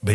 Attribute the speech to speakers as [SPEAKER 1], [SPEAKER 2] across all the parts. [SPEAKER 1] Ben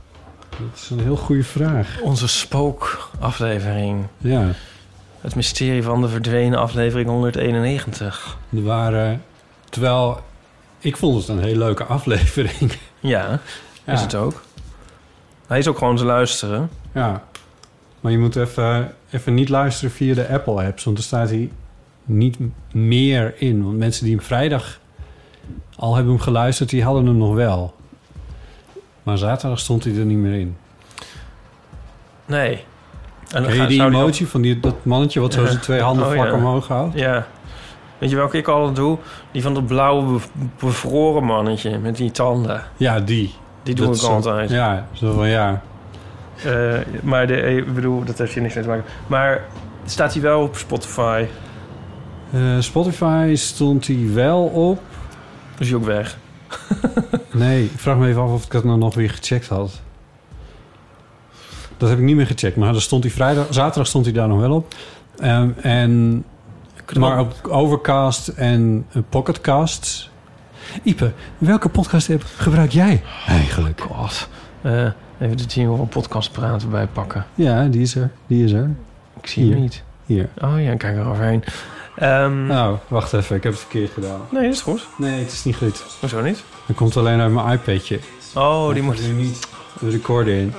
[SPEAKER 2] Dat is een heel goede vraag.
[SPEAKER 3] Onze spookaflevering.
[SPEAKER 2] Ja,
[SPEAKER 3] Het mysterie van de verdwenen aflevering 191.
[SPEAKER 2] er waren... Terwijl, ik vond het een hele leuke aflevering.
[SPEAKER 3] Ja,
[SPEAKER 2] Ja,
[SPEAKER 3] is het ook. Hij is ook gewoon te luisteren.
[SPEAKER 2] Ja. Maar je moet even, even niet luisteren via de Apple-apps... want er staat hij niet m- meer in. Want mensen die hem vrijdag al hebben hem geluisterd... die hadden hem nog wel. Maar zaterdag stond hij er niet meer in.
[SPEAKER 3] Nee. En
[SPEAKER 2] Ken je
[SPEAKER 3] ga-
[SPEAKER 2] die
[SPEAKER 3] zou die
[SPEAKER 2] emotie van die, dat mannetje... wat zo
[SPEAKER 3] Ja.
[SPEAKER 2] zijn twee handen
[SPEAKER 3] Oh,
[SPEAKER 2] vlak
[SPEAKER 3] ja.
[SPEAKER 2] omhoog houdt?
[SPEAKER 3] ook- ja. Weet je welke ik altijd doe? Die van dat blauwe be- bevroren mannetje met die tanden.
[SPEAKER 2] Ja, die.
[SPEAKER 3] Die doe
[SPEAKER 2] Dat
[SPEAKER 3] ik
[SPEAKER 2] zo-
[SPEAKER 3] altijd.
[SPEAKER 2] Ja, zo van ja.
[SPEAKER 3] Eh, maar de, ik bedoel, dat heeft hier niks mee te maken. Maar staat hij wel op Spotify?
[SPEAKER 2] Eh, Spotify stond hij wel op...
[SPEAKER 3] Is hij ook weg?
[SPEAKER 2] Nee, ik vraag me even af of ik dat nou nog weer gecheckt had. Dat heb ik niet meer gecheckt, maar daar stond hij vrijdag, zaterdag stond hij daar nog wel op. Ehm, en, maar op Overcast en eh, Pocketcast. Ipe, welke podcast app gebruik jij eigenlijk?
[SPEAKER 3] God. Eh, even de jingle van podcast praten bijpakken.
[SPEAKER 2] Ja, die is er. Die is er.
[SPEAKER 3] Ik zie hem
[SPEAKER 2] Hier.
[SPEAKER 3] niet.
[SPEAKER 2] Hier.
[SPEAKER 3] Oh ja, kijk eroverheen. Ehm
[SPEAKER 2] Nou, wacht even. Ik heb het verkeerd gedaan.
[SPEAKER 3] Nee, is goed.
[SPEAKER 2] Nee, het is niet goed.
[SPEAKER 3] Hoezo niet?
[SPEAKER 2] Dat komt alleen uit mijn iPadje.
[SPEAKER 3] Oh, die moet...
[SPEAKER 2] nu niet de recorder in.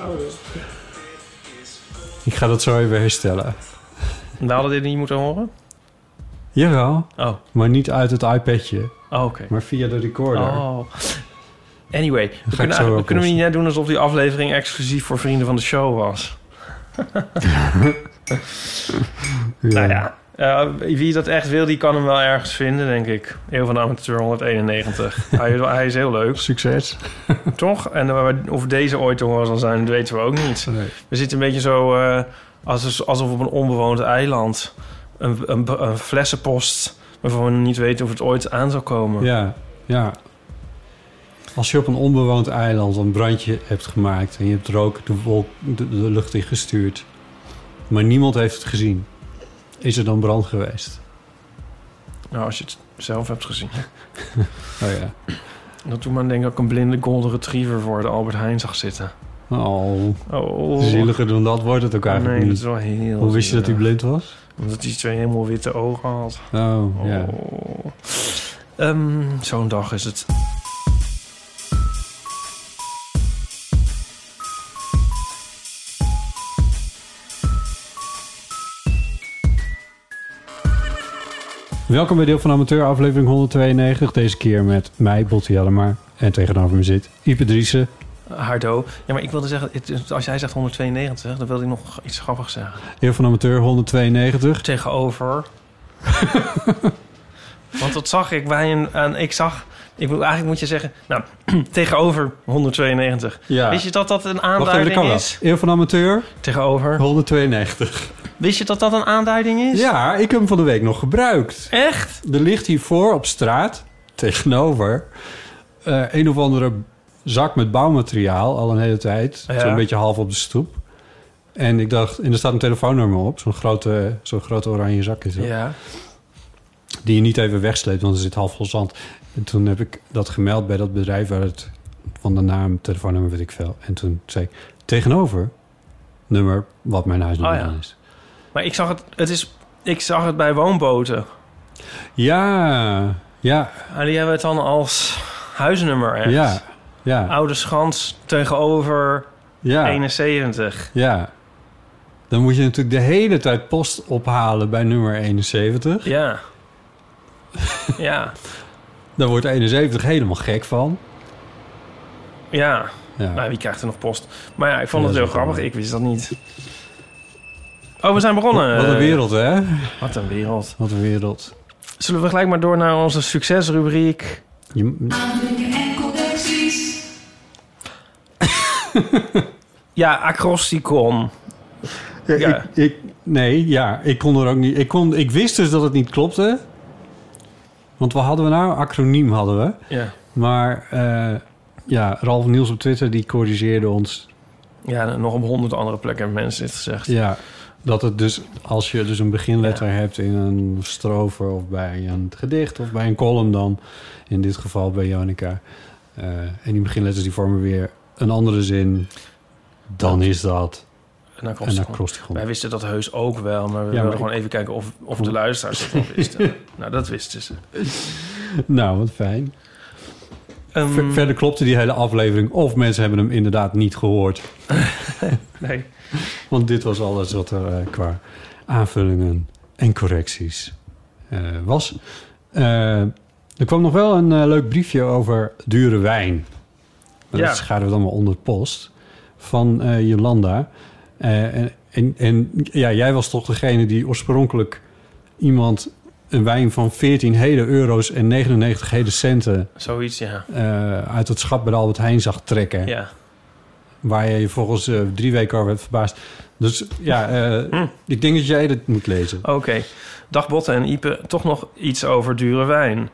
[SPEAKER 2] Ik ga dat zo even herstellen.
[SPEAKER 3] We hadden dit niet moeten horen?
[SPEAKER 2] Jawel.
[SPEAKER 3] Oh,
[SPEAKER 2] Maar niet uit het iPadje,
[SPEAKER 3] oh oké.
[SPEAKER 2] maar via de recorder.
[SPEAKER 3] Oh. Anyway, we
[SPEAKER 2] ik
[SPEAKER 3] kunnen,
[SPEAKER 2] zo
[SPEAKER 3] we kunnen
[SPEAKER 2] oplossen.
[SPEAKER 3] niet net doen alsof die aflevering exclusief voor vrienden van de show was. Nou ja, eh, wie dat echt wil, die kan hem wel ergens vinden, denk ik. Eeuw van de Amateur 191. hij, is- hij is heel leuk,
[SPEAKER 2] Succes.
[SPEAKER 3] toch? En eh, of deze ooit te horen zal zijn, dat weten we ook niet. We zitten een beetje zo eh, als, alsof op een onbewoond eiland. Een, een, een flessenpost waarvan we niet weten of het ooit aan zou komen.
[SPEAKER 2] Ja, ja. Als je op een onbewoond eiland een brandje hebt gemaakt en je hebt rook de, wolk, de, de lucht in gestuurd, maar niemand heeft het gezien, is er dan brand geweest?
[SPEAKER 3] Nou, als je het zelf hebt gezien.
[SPEAKER 2] Oh ja.
[SPEAKER 3] Dat toen maar denk ik dat ik een blinde golden retriever voor de Albert Heijn zag zitten.
[SPEAKER 2] Oh,
[SPEAKER 3] Oh,
[SPEAKER 2] zieliger dan dat wordt het ook eigenlijk
[SPEAKER 3] Nee, dat is
[SPEAKER 2] niet.
[SPEAKER 3] wel heel
[SPEAKER 2] Hoe wist je dat hij
[SPEAKER 3] zielig.
[SPEAKER 2] blind was?
[SPEAKER 3] Omdat hij twee helemaal witte ogen had.
[SPEAKER 2] Oh,
[SPEAKER 3] Oh.
[SPEAKER 2] ja.
[SPEAKER 3] Ehm, Zo'n dag is het.
[SPEAKER 2] Welkom bij Deel van Amateur, aflevering 192. Deze keer met mij, Botti Jellema. En tegenover me zit Ipe Driessen.
[SPEAKER 3] Hardo. Ja, maar ik wilde zeggen, het is- als jij zegt 192, dan wilde ik nog iets grappigs zeggen.
[SPEAKER 2] Eeuw van Amateur 192.
[SPEAKER 3] tegenover. Want dat zag ik bij een... aan- ik zag... Ik bedoel, eigenlijk moet je zeggen... Nou, tegenover 192.
[SPEAKER 2] Ja.
[SPEAKER 3] Wist je dat dat een
[SPEAKER 2] Wacht even,
[SPEAKER 3] aanduiding
[SPEAKER 2] dat kan wel.
[SPEAKER 3] is?
[SPEAKER 2] Eeuw van Amateur
[SPEAKER 3] Tegenover.
[SPEAKER 2] 192.
[SPEAKER 3] Wist je dat dat een aanduiding is?
[SPEAKER 2] Ja, ik heb hem van de week nog gebruikt.
[SPEAKER 3] Echt?
[SPEAKER 2] Er ligt hiervoor op straat, tegenover, eh, een of andere zak met bouwmateriaal al een hele tijd.
[SPEAKER 3] Ja.
[SPEAKER 2] Zo'n beetje half op de stoep. En ik dacht, en er staat een telefoonnummer op, zo'n grote, zo'n grote oranje zak is dat.
[SPEAKER 3] Ja.
[SPEAKER 2] Die je niet even wegsleept, want er zit half vol zand. En toen heb ik dat gemeld bij dat bedrijf waar het van de naam, telefoonnummer, weet ik veel. En toen zei ik tegenover nummer wat mijn huisnummer
[SPEAKER 3] Oh ja.
[SPEAKER 2] dan is.
[SPEAKER 3] Maar ik zag het... Het is... Ik zag het bij woonboten.
[SPEAKER 2] Ja, ja,
[SPEAKER 3] En die hebben het dan als huisnummer echt. Ah,
[SPEAKER 2] ja, ja.
[SPEAKER 3] Oude Schans tegenover
[SPEAKER 2] Ja.
[SPEAKER 3] 71.
[SPEAKER 2] Ja. Dan moet je natuurlijk de hele tijd post ophalen bij nummer 71.
[SPEAKER 3] Ja. ja.
[SPEAKER 2] Daar wordt 71 helemaal gek van.
[SPEAKER 3] Ja.
[SPEAKER 2] Ja.
[SPEAKER 3] Nou, wie krijgt er nog post? Maar ja, ik vond
[SPEAKER 2] Ja,
[SPEAKER 3] het heel
[SPEAKER 2] dat is wel
[SPEAKER 3] grappig. Ik wist dat niet. Oh, we zijn begonnen.
[SPEAKER 2] Wat een wereld, hè?
[SPEAKER 3] Wat een wereld.
[SPEAKER 2] Wat een wereld.
[SPEAKER 3] Zullen we gelijk maar door naar onze succesrubriek?
[SPEAKER 2] Je,
[SPEAKER 3] Ja, acrosticon.
[SPEAKER 2] Ja,
[SPEAKER 3] Ja.
[SPEAKER 2] Eh, Ik, ik, nee, ja, ik kon er ook niet. Ik, kon, ik wist dus dat het niet klopte. Want wat hadden we nou? Acroniem hadden we.
[SPEAKER 3] Ja.
[SPEAKER 2] Maar eh, ja, Ralf Niels op Twitter die corrigeerde ons.
[SPEAKER 3] Ja, en nog op honderd andere plekken hebben mensen dit gezegd.
[SPEAKER 2] Ja, dat het dus als je dus een beginletter hebt in een strover of bij een gedicht of bij een column dan. In dit geval bij Jonica. eh, en die beginletters die vormen weer een andere zin. Dan is dat
[SPEAKER 3] Een
[SPEAKER 2] een
[SPEAKER 3] acrosticon.
[SPEAKER 2] acrostigon.
[SPEAKER 3] Wij wisten dat heus ook wel, maar we
[SPEAKER 2] maar
[SPEAKER 3] wilden
[SPEAKER 2] ik-
[SPEAKER 3] gewoon even kijken of, of de luisteraars dat ook wisten. nou, dat wisten ze.
[SPEAKER 2] Nou, wat fijn.
[SPEAKER 3] Ehm,
[SPEAKER 2] Ver- verder klopte die hele aflevering. Of mensen hebben hem inderdaad niet gehoord.
[SPEAKER 3] nee.
[SPEAKER 2] Want dit was alles wat er eh, qua aanvullingen en correcties eh, was. Eh, er kwam nog wel een eh, leuk briefje over dure wijn. Maar
[SPEAKER 3] Ja.
[SPEAKER 2] Dat scharen we dan maar onder post. Van eh, Jolanda. Eh, en en, en ja, jij was toch degene die oorspronkelijk iemand een wijn van 14 hele euro's en 99 hele centen
[SPEAKER 3] Zoiets, ja.
[SPEAKER 2] eh, uit het schap bij de Albert Heijn zag trekken.
[SPEAKER 3] Ja.
[SPEAKER 2] Waar je je volgens eh, drie weken over hebt verbaasd. Dus ja, eh,
[SPEAKER 3] Hm.
[SPEAKER 2] ik denk dat jij dit moet lezen.
[SPEAKER 3] Oké. Dag Botte en Ipe, toch nog iets over dure wijn.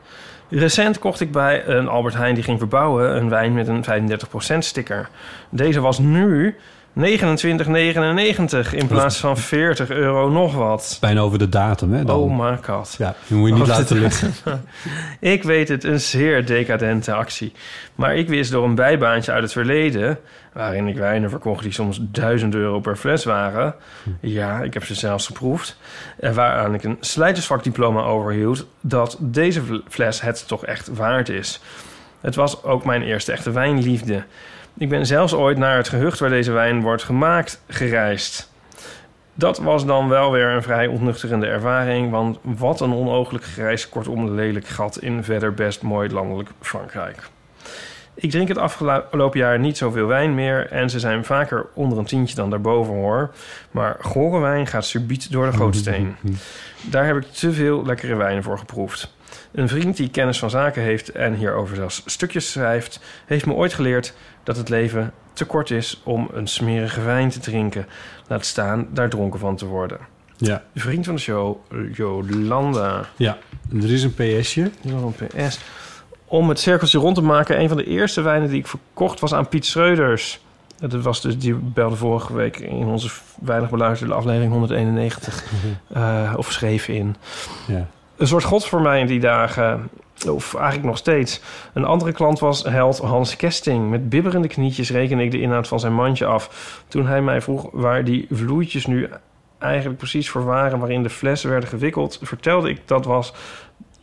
[SPEAKER 3] Recent kocht ik bij een Albert Heijn die ging verbouwen een wijn met een 35% sticker. Deze was nu 29,99 in plaats van 40 euro nog wat.
[SPEAKER 2] Bijna over de datum, hè? Dan.
[SPEAKER 3] Oh my god.
[SPEAKER 2] ja, je moet je niet
[SPEAKER 3] Oh,
[SPEAKER 2] laten
[SPEAKER 3] dit-
[SPEAKER 2] liggen.
[SPEAKER 3] Ik weet het, een zeer decadente actie. Maar ik wist door een bijbaantje uit het verleden... waarin ik wijnen verkocht die soms 1000 euro per fles waren... ja, ik heb ze zelfs geproefd... en waaraan ik een slijtersvakdiploma overhield... dat deze fles het toch echt waard is. Het was ook mijn eerste echte wijnliefde. Ik ben zelfs ooit naar het gehucht waar deze wijn wordt gemaakt gereisd... Dat was dan wel weer een vrij ontnuchterende ervaring, want wat een onooglijk grijs, kortom lelijk gat in verder best mooi landelijk Frankrijk. Ik drink het afgelopen jaar niet zoveel wijn meer en ze zijn vaker onder een tientje dan daarboven hoor. Maar gore wijn gaat subiet door de gootsteen. Daar heb ik te veel lekkere wijnen voor geproefd. Een vriend die kennis van zaken heeft en hierover zelfs stukjes schrijft, heeft me ooit geleerd dat het leven te kort is om een smerige wijn te drinken. Laat staan daar dronken van te worden.
[SPEAKER 2] Ja,
[SPEAKER 3] Vriend van de show, Jolanda.
[SPEAKER 2] ja. Er is een PS'je.
[SPEAKER 3] Die was op PS. Om het cirkeltje rond te maken, een van de eerste wijnen die ik verkocht was aan Piet Schreuders. Dat was dus, die belde vorige week in onze weinig beluisterde aflevering 191. eh, of schreef in.
[SPEAKER 2] Ja.
[SPEAKER 3] Een soort god voor mij in die dagen. Of eigenlijk nog steeds. Een andere klant was held Hans Kesting. Met bibberende knietjes rekende ik de inhoud van zijn mandje af. Toen hij mij vroeg waar die vloeitjes nu eigenlijk precies voor waren... waarin de flessen werden gewikkeld, vertelde ik dat was...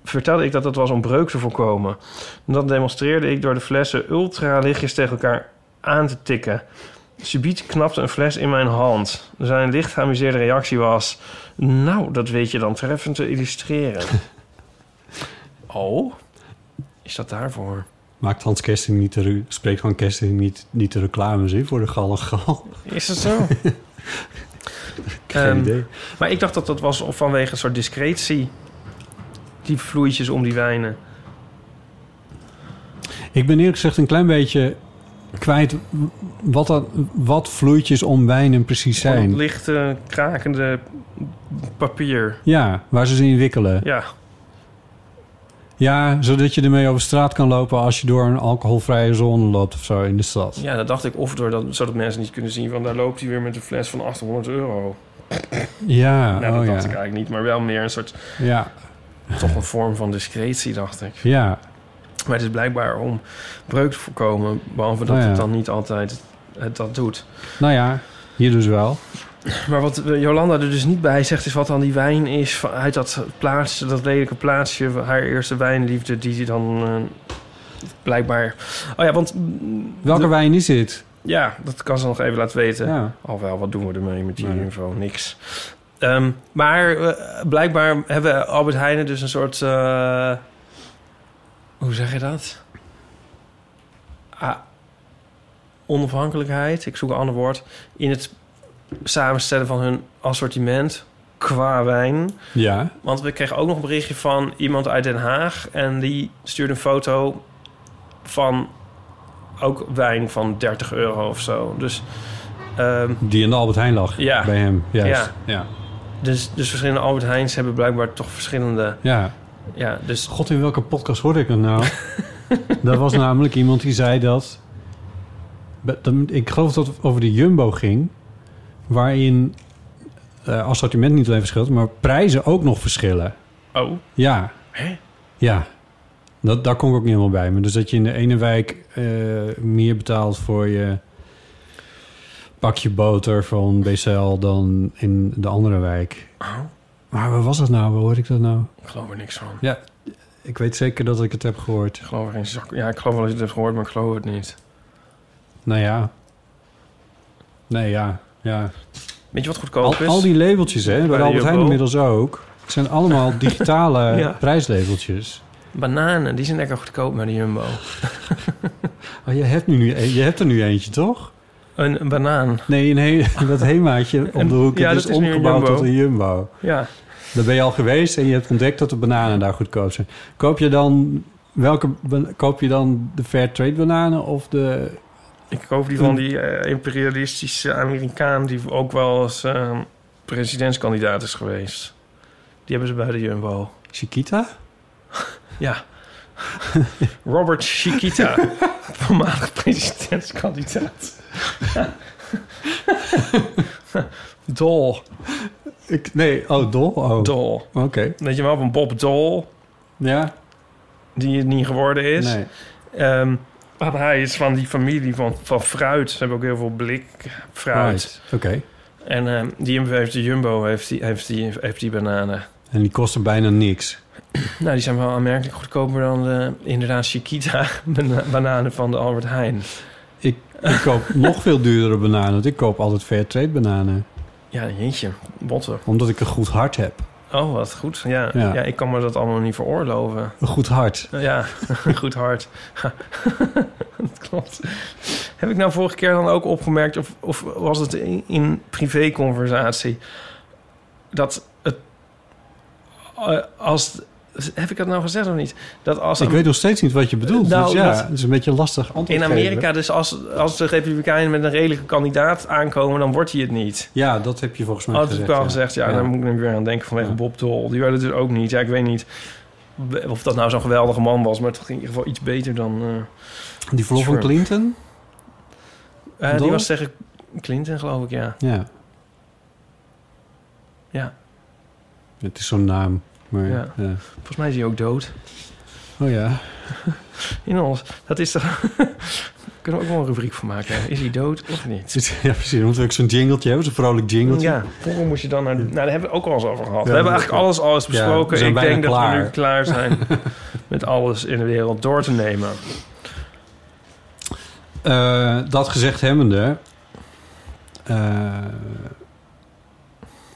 [SPEAKER 3] Vertelde ik dat het was om breuk te voorkomen. Dat demonstreerde ik door de flessen ultralichtjes tegen elkaar aan te tikken. Subiet knapte een fles in mijn hand. Zijn licht geamuseerde reactie was... Nou, dat weet je dan treffend te illustreren. oh? Is dat daarvoor?
[SPEAKER 2] Maakt Hans Kersting niet de, ru- spreekt van Kersting niet, niet de reclames in voor de gal en gal?
[SPEAKER 3] Is dat zo?
[SPEAKER 2] Geen
[SPEAKER 3] Ehm,
[SPEAKER 2] idee.
[SPEAKER 3] Maar ik dacht dat dat was vanwege een soort discretie. Die vloeitjes om die wijnen.
[SPEAKER 2] Ik ben eerlijk gezegd een klein beetje kwijt wat, dat, wat vloeitjes om wijnen precies
[SPEAKER 3] Van dat
[SPEAKER 2] zijn.
[SPEAKER 3] lichte, krakende papier.
[SPEAKER 2] Ja, waar ze ze in wikkelen.
[SPEAKER 3] Ja,
[SPEAKER 2] Ja, zodat je ermee over straat kan lopen als je door een alcoholvrije zone loopt of zo in de stad.
[SPEAKER 3] ja dat dacht ik. Of door dat, zodat mensen niet kunnen zien... van daar loopt hij weer met een fles van 800 euro.
[SPEAKER 2] Ja,
[SPEAKER 3] nou, dat
[SPEAKER 2] oh
[SPEAKER 3] dacht
[SPEAKER 2] ja.
[SPEAKER 3] ik eigenlijk niet. Maar wel meer een soort...
[SPEAKER 2] ja.
[SPEAKER 3] toch een vorm van discretie, dacht ik.
[SPEAKER 2] Ja,
[SPEAKER 3] Maar het is blijkbaar om breuk te voorkomen. Behalve dat
[SPEAKER 2] Nou ja.
[SPEAKER 3] het dan niet altijd het dat doet.
[SPEAKER 2] nou ja, hier dus wel.
[SPEAKER 3] Maar wat eh, Jolanda er dus niet bij zegt... is wat dan die wijn is van- uit dat plaatsje, dat lelijke plaatsje... haar eerste wijnliefde die ze dan eh, blijkbaar... Oh ja, want mm,
[SPEAKER 2] Welke
[SPEAKER 3] de-
[SPEAKER 2] wijn is dit?
[SPEAKER 3] Ja, dat kan ze nog even laten weten.
[SPEAKER 2] Ja.
[SPEAKER 3] Al wel, wat doen we ermee met die
[SPEAKER 2] Nee.
[SPEAKER 3] info? Niks. Ehm, maar eh, blijkbaar hebben Albert Heijnen dus een soort... eh, hoe zeg je dat? Ah, onafhankelijkheid, ik zoek een ander woord... in het samenstellen van hun assortiment qua wijn...
[SPEAKER 2] Ja.
[SPEAKER 3] Want we kregen ook nog een berichtje van iemand uit Den Haag. En die stuurde een foto van ook wijn van 30 euro of zo. Dus, ehm,
[SPEAKER 2] Die in de Albert Heijn lag.
[SPEAKER 3] Ja.
[SPEAKER 2] Bij hem. Juist.
[SPEAKER 3] Ja.
[SPEAKER 2] Ja. ja.
[SPEAKER 3] dus, dus verschillende Albert Heijns hebben blijkbaar toch verschillende... Ja, dus
[SPEAKER 2] God, in welke podcast hoorde ik dat nou? Daar was namelijk iemand die zei dat... Be- dat- Ik geloof dat het over de Jumbo ging. Waarin eh, assortiment niet alleen verschilt, maar prijzen ook nog verschillen.
[SPEAKER 3] oh,
[SPEAKER 2] Ja.
[SPEAKER 3] Hè?
[SPEAKER 2] Ja. Dat, daar kom ik ook niet helemaal bij. Maar dus dat je in de ene wijk eh, meer betaalt voor je pakje boter van BCL dan in de andere wijk.
[SPEAKER 3] Oh.
[SPEAKER 2] Maar waar was dat nou? Waar hoor ik dat nou?
[SPEAKER 3] ik geloof er niks van.
[SPEAKER 2] Ja, ik weet zeker dat ik het heb gehoord.
[SPEAKER 3] Ik geloof er geen zak... Ja, ik geloof wel dat je het hebt gehoord, maar ik geloof het niet.
[SPEAKER 2] Nou ja. Nee, ja. ja.
[SPEAKER 3] Weet je wat
[SPEAKER 2] Al,
[SPEAKER 3] goedkoop is?
[SPEAKER 2] al die labeltjes, hè, bij
[SPEAKER 3] dus. Bij
[SPEAKER 2] de
[SPEAKER 3] de
[SPEAKER 2] Albert Heijn
[SPEAKER 3] Jumbo.
[SPEAKER 2] inmiddels ook. Het zijn allemaal digitale
[SPEAKER 3] Ja.
[SPEAKER 2] prijslabeltjes.
[SPEAKER 3] Bananen, die zijn lekker goedkoop met de Jumbo.
[SPEAKER 2] Oh, je, hebt nu, je hebt er nu eentje, toch?
[SPEAKER 3] Een, een banaan,
[SPEAKER 2] Nee, een he- dat hemaatje om de hoek
[SPEAKER 3] Ja,
[SPEAKER 2] is
[SPEAKER 3] dat is nu een
[SPEAKER 2] omgebouwd
[SPEAKER 3] Jumbo.
[SPEAKER 2] tot een Jumbo.
[SPEAKER 3] ja.
[SPEAKER 2] Daar ben je al geweest en je hebt ontdekt dat de bananen daar goedkoop zijn. Koop je dan, welke, ban- koop je dan de fair trade bananen of de...
[SPEAKER 3] Ik koop die van die eh, imperialistische Amerikaan die ook wel eens eh, presidentskandidaat is geweest. Die hebben ze bij de Jumbo.
[SPEAKER 2] Chiquita?
[SPEAKER 3] Ja. Robert Chiquita, voormalig presidentskandidaat. Dol,
[SPEAKER 2] Ik, nee, oh, dol? Oh,
[SPEAKER 3] dol.
[SPEAKER 2] Oké.
[SPEAKER 3] Weet je wel, van Bob Dol,
[SPEAKER 2] Ja?
[SPEAKER 3] die het niet geworden is.
[SPEAKER 2] Nee.
[SPEAKER 3] Ehm, maar hij is van die familie van, van fruit. Ze hebben ook heel veel blik fruit.
[SPEAKER 2] Right. Oké.
[SPEAKER 3] En ehm, die MV heeft de Jumbo, heeft die, heeft, die, heeft die bananen.
[SPEAKER 2] En die kosten bijna niks.
[SPEAKER 3] Nou, die zijn wel aanmerkelijk goedkoper dan de, inderdaad Chiquita bana- bananen van de Albert Heijn.
[SPEAKER 2] Ik, ik koop nog veel duurdere bananen, want ik koop altijd fair trade bananen.
[SPEAKER 3] Ja, jeetje, botten.
[SPEAKER 2] Omdat ik een goed hart heb.
[SPEAKER 3] Oh, wat goed. Ja, ja.
[SPEAKER 2] Ja.
[SPEAKER 3] ik kan me dat allemaal niet veroorloven.
[SPEAKER 2] Een goed hart.
[SPEAKER 3] Nou Ja, goed hard. dat klopt. Heb ik nou vorige keer dan ook opgemerkt, of, of was het in, in privéconversatie, dat het... eh, Als, heb ik dat nou gezegd of niet? Dat als
[SPEAKER 2] Ik weet nog steeds niet wat je bedoelt.
[SPEAKER 3] Nou,
[SPEAKER 2] dus ja,
[SPEAKER 3] dat-
[SPEAKER 2] het is een beetje een lastig antwoord
[SPEAKER 3] In
[SPEAKER 2] geven.
[SPEAKER 3] Amerika, dus als, als de Republikeinen met een redelijke kandidaat aankomen, dan wordt hij het niet.
[SPEAKER 2] Ja, dat heb je volgens mij
[SPEAKER 3] Oh, dat heb
[SPEAKER 2] gezegd.
[SPEAKER 3] ik wel gezegd, ja,
[SPEAKER 2] Ja.
[SPEAKER 3] daar moet ik nu weer aan denken vanwege
[SPEAKER 2] Ja.
[SPEAKER 3] Bob Dole. Die werd het dus ook niet. Ja, ik weet niet of dat nou zo'n geweldige man was, maar het ging in ieder geval iets beter dan. eh,
[SPEAKER 2] Die verlof van
[SPEAKER 3] Sure.
[SPEAKER 2] Clinton?
[SPEAKER 3] eh, die
[SPEAKER 2] Dole?
[SPEAKER 3] was tegen Clinton, geloof ik, ja.
[SPEAKER 2] Ja.
[SPEAKER 3] Ja.
[SPEAKER 2] Het is zo'n naam. Maar,
[SPEAKER 3] Ja.
[SPEAKER 2] ja.
[SPEAKER 3] Volgens mij is hij ook dood.
[SPEAKER 2] Oh ja.
[SPEAKER 3] In ons, dat is toch. Kunnen we ook wel een rubriek van maken? hè? Is hij dood of niet?
[SPEAKER 2] Ja, precies. Dan moeten we ook zo'n jingletje hebben. Zo'n vrolijk jingletje.
[SPEAKER 3] Ja, vroeger moest je dan naar... Nou, daar hebben we ook al eens over gehad. we
[SPEAKER 2] Ja,
[SPEAKER 3] hebben
[SPEAKER 2] dat-
[SPEAKER 3] eigenlijk alles al eens
[SPEAKER 2] we
[SPEAKER 3] besproken.
[SPEAKER 2] zijn
[SPEAKER 3] Ik
[SPEAKER 2] bijna
[SPEAKER 3] denk dat we
[SPEAKER 2] klaar.
[SPEAKER 3] nu klaar zijn met alles in de wereld door te nemen.
[SPEAKER 2] Eh, dat gezegd hebbende... eh,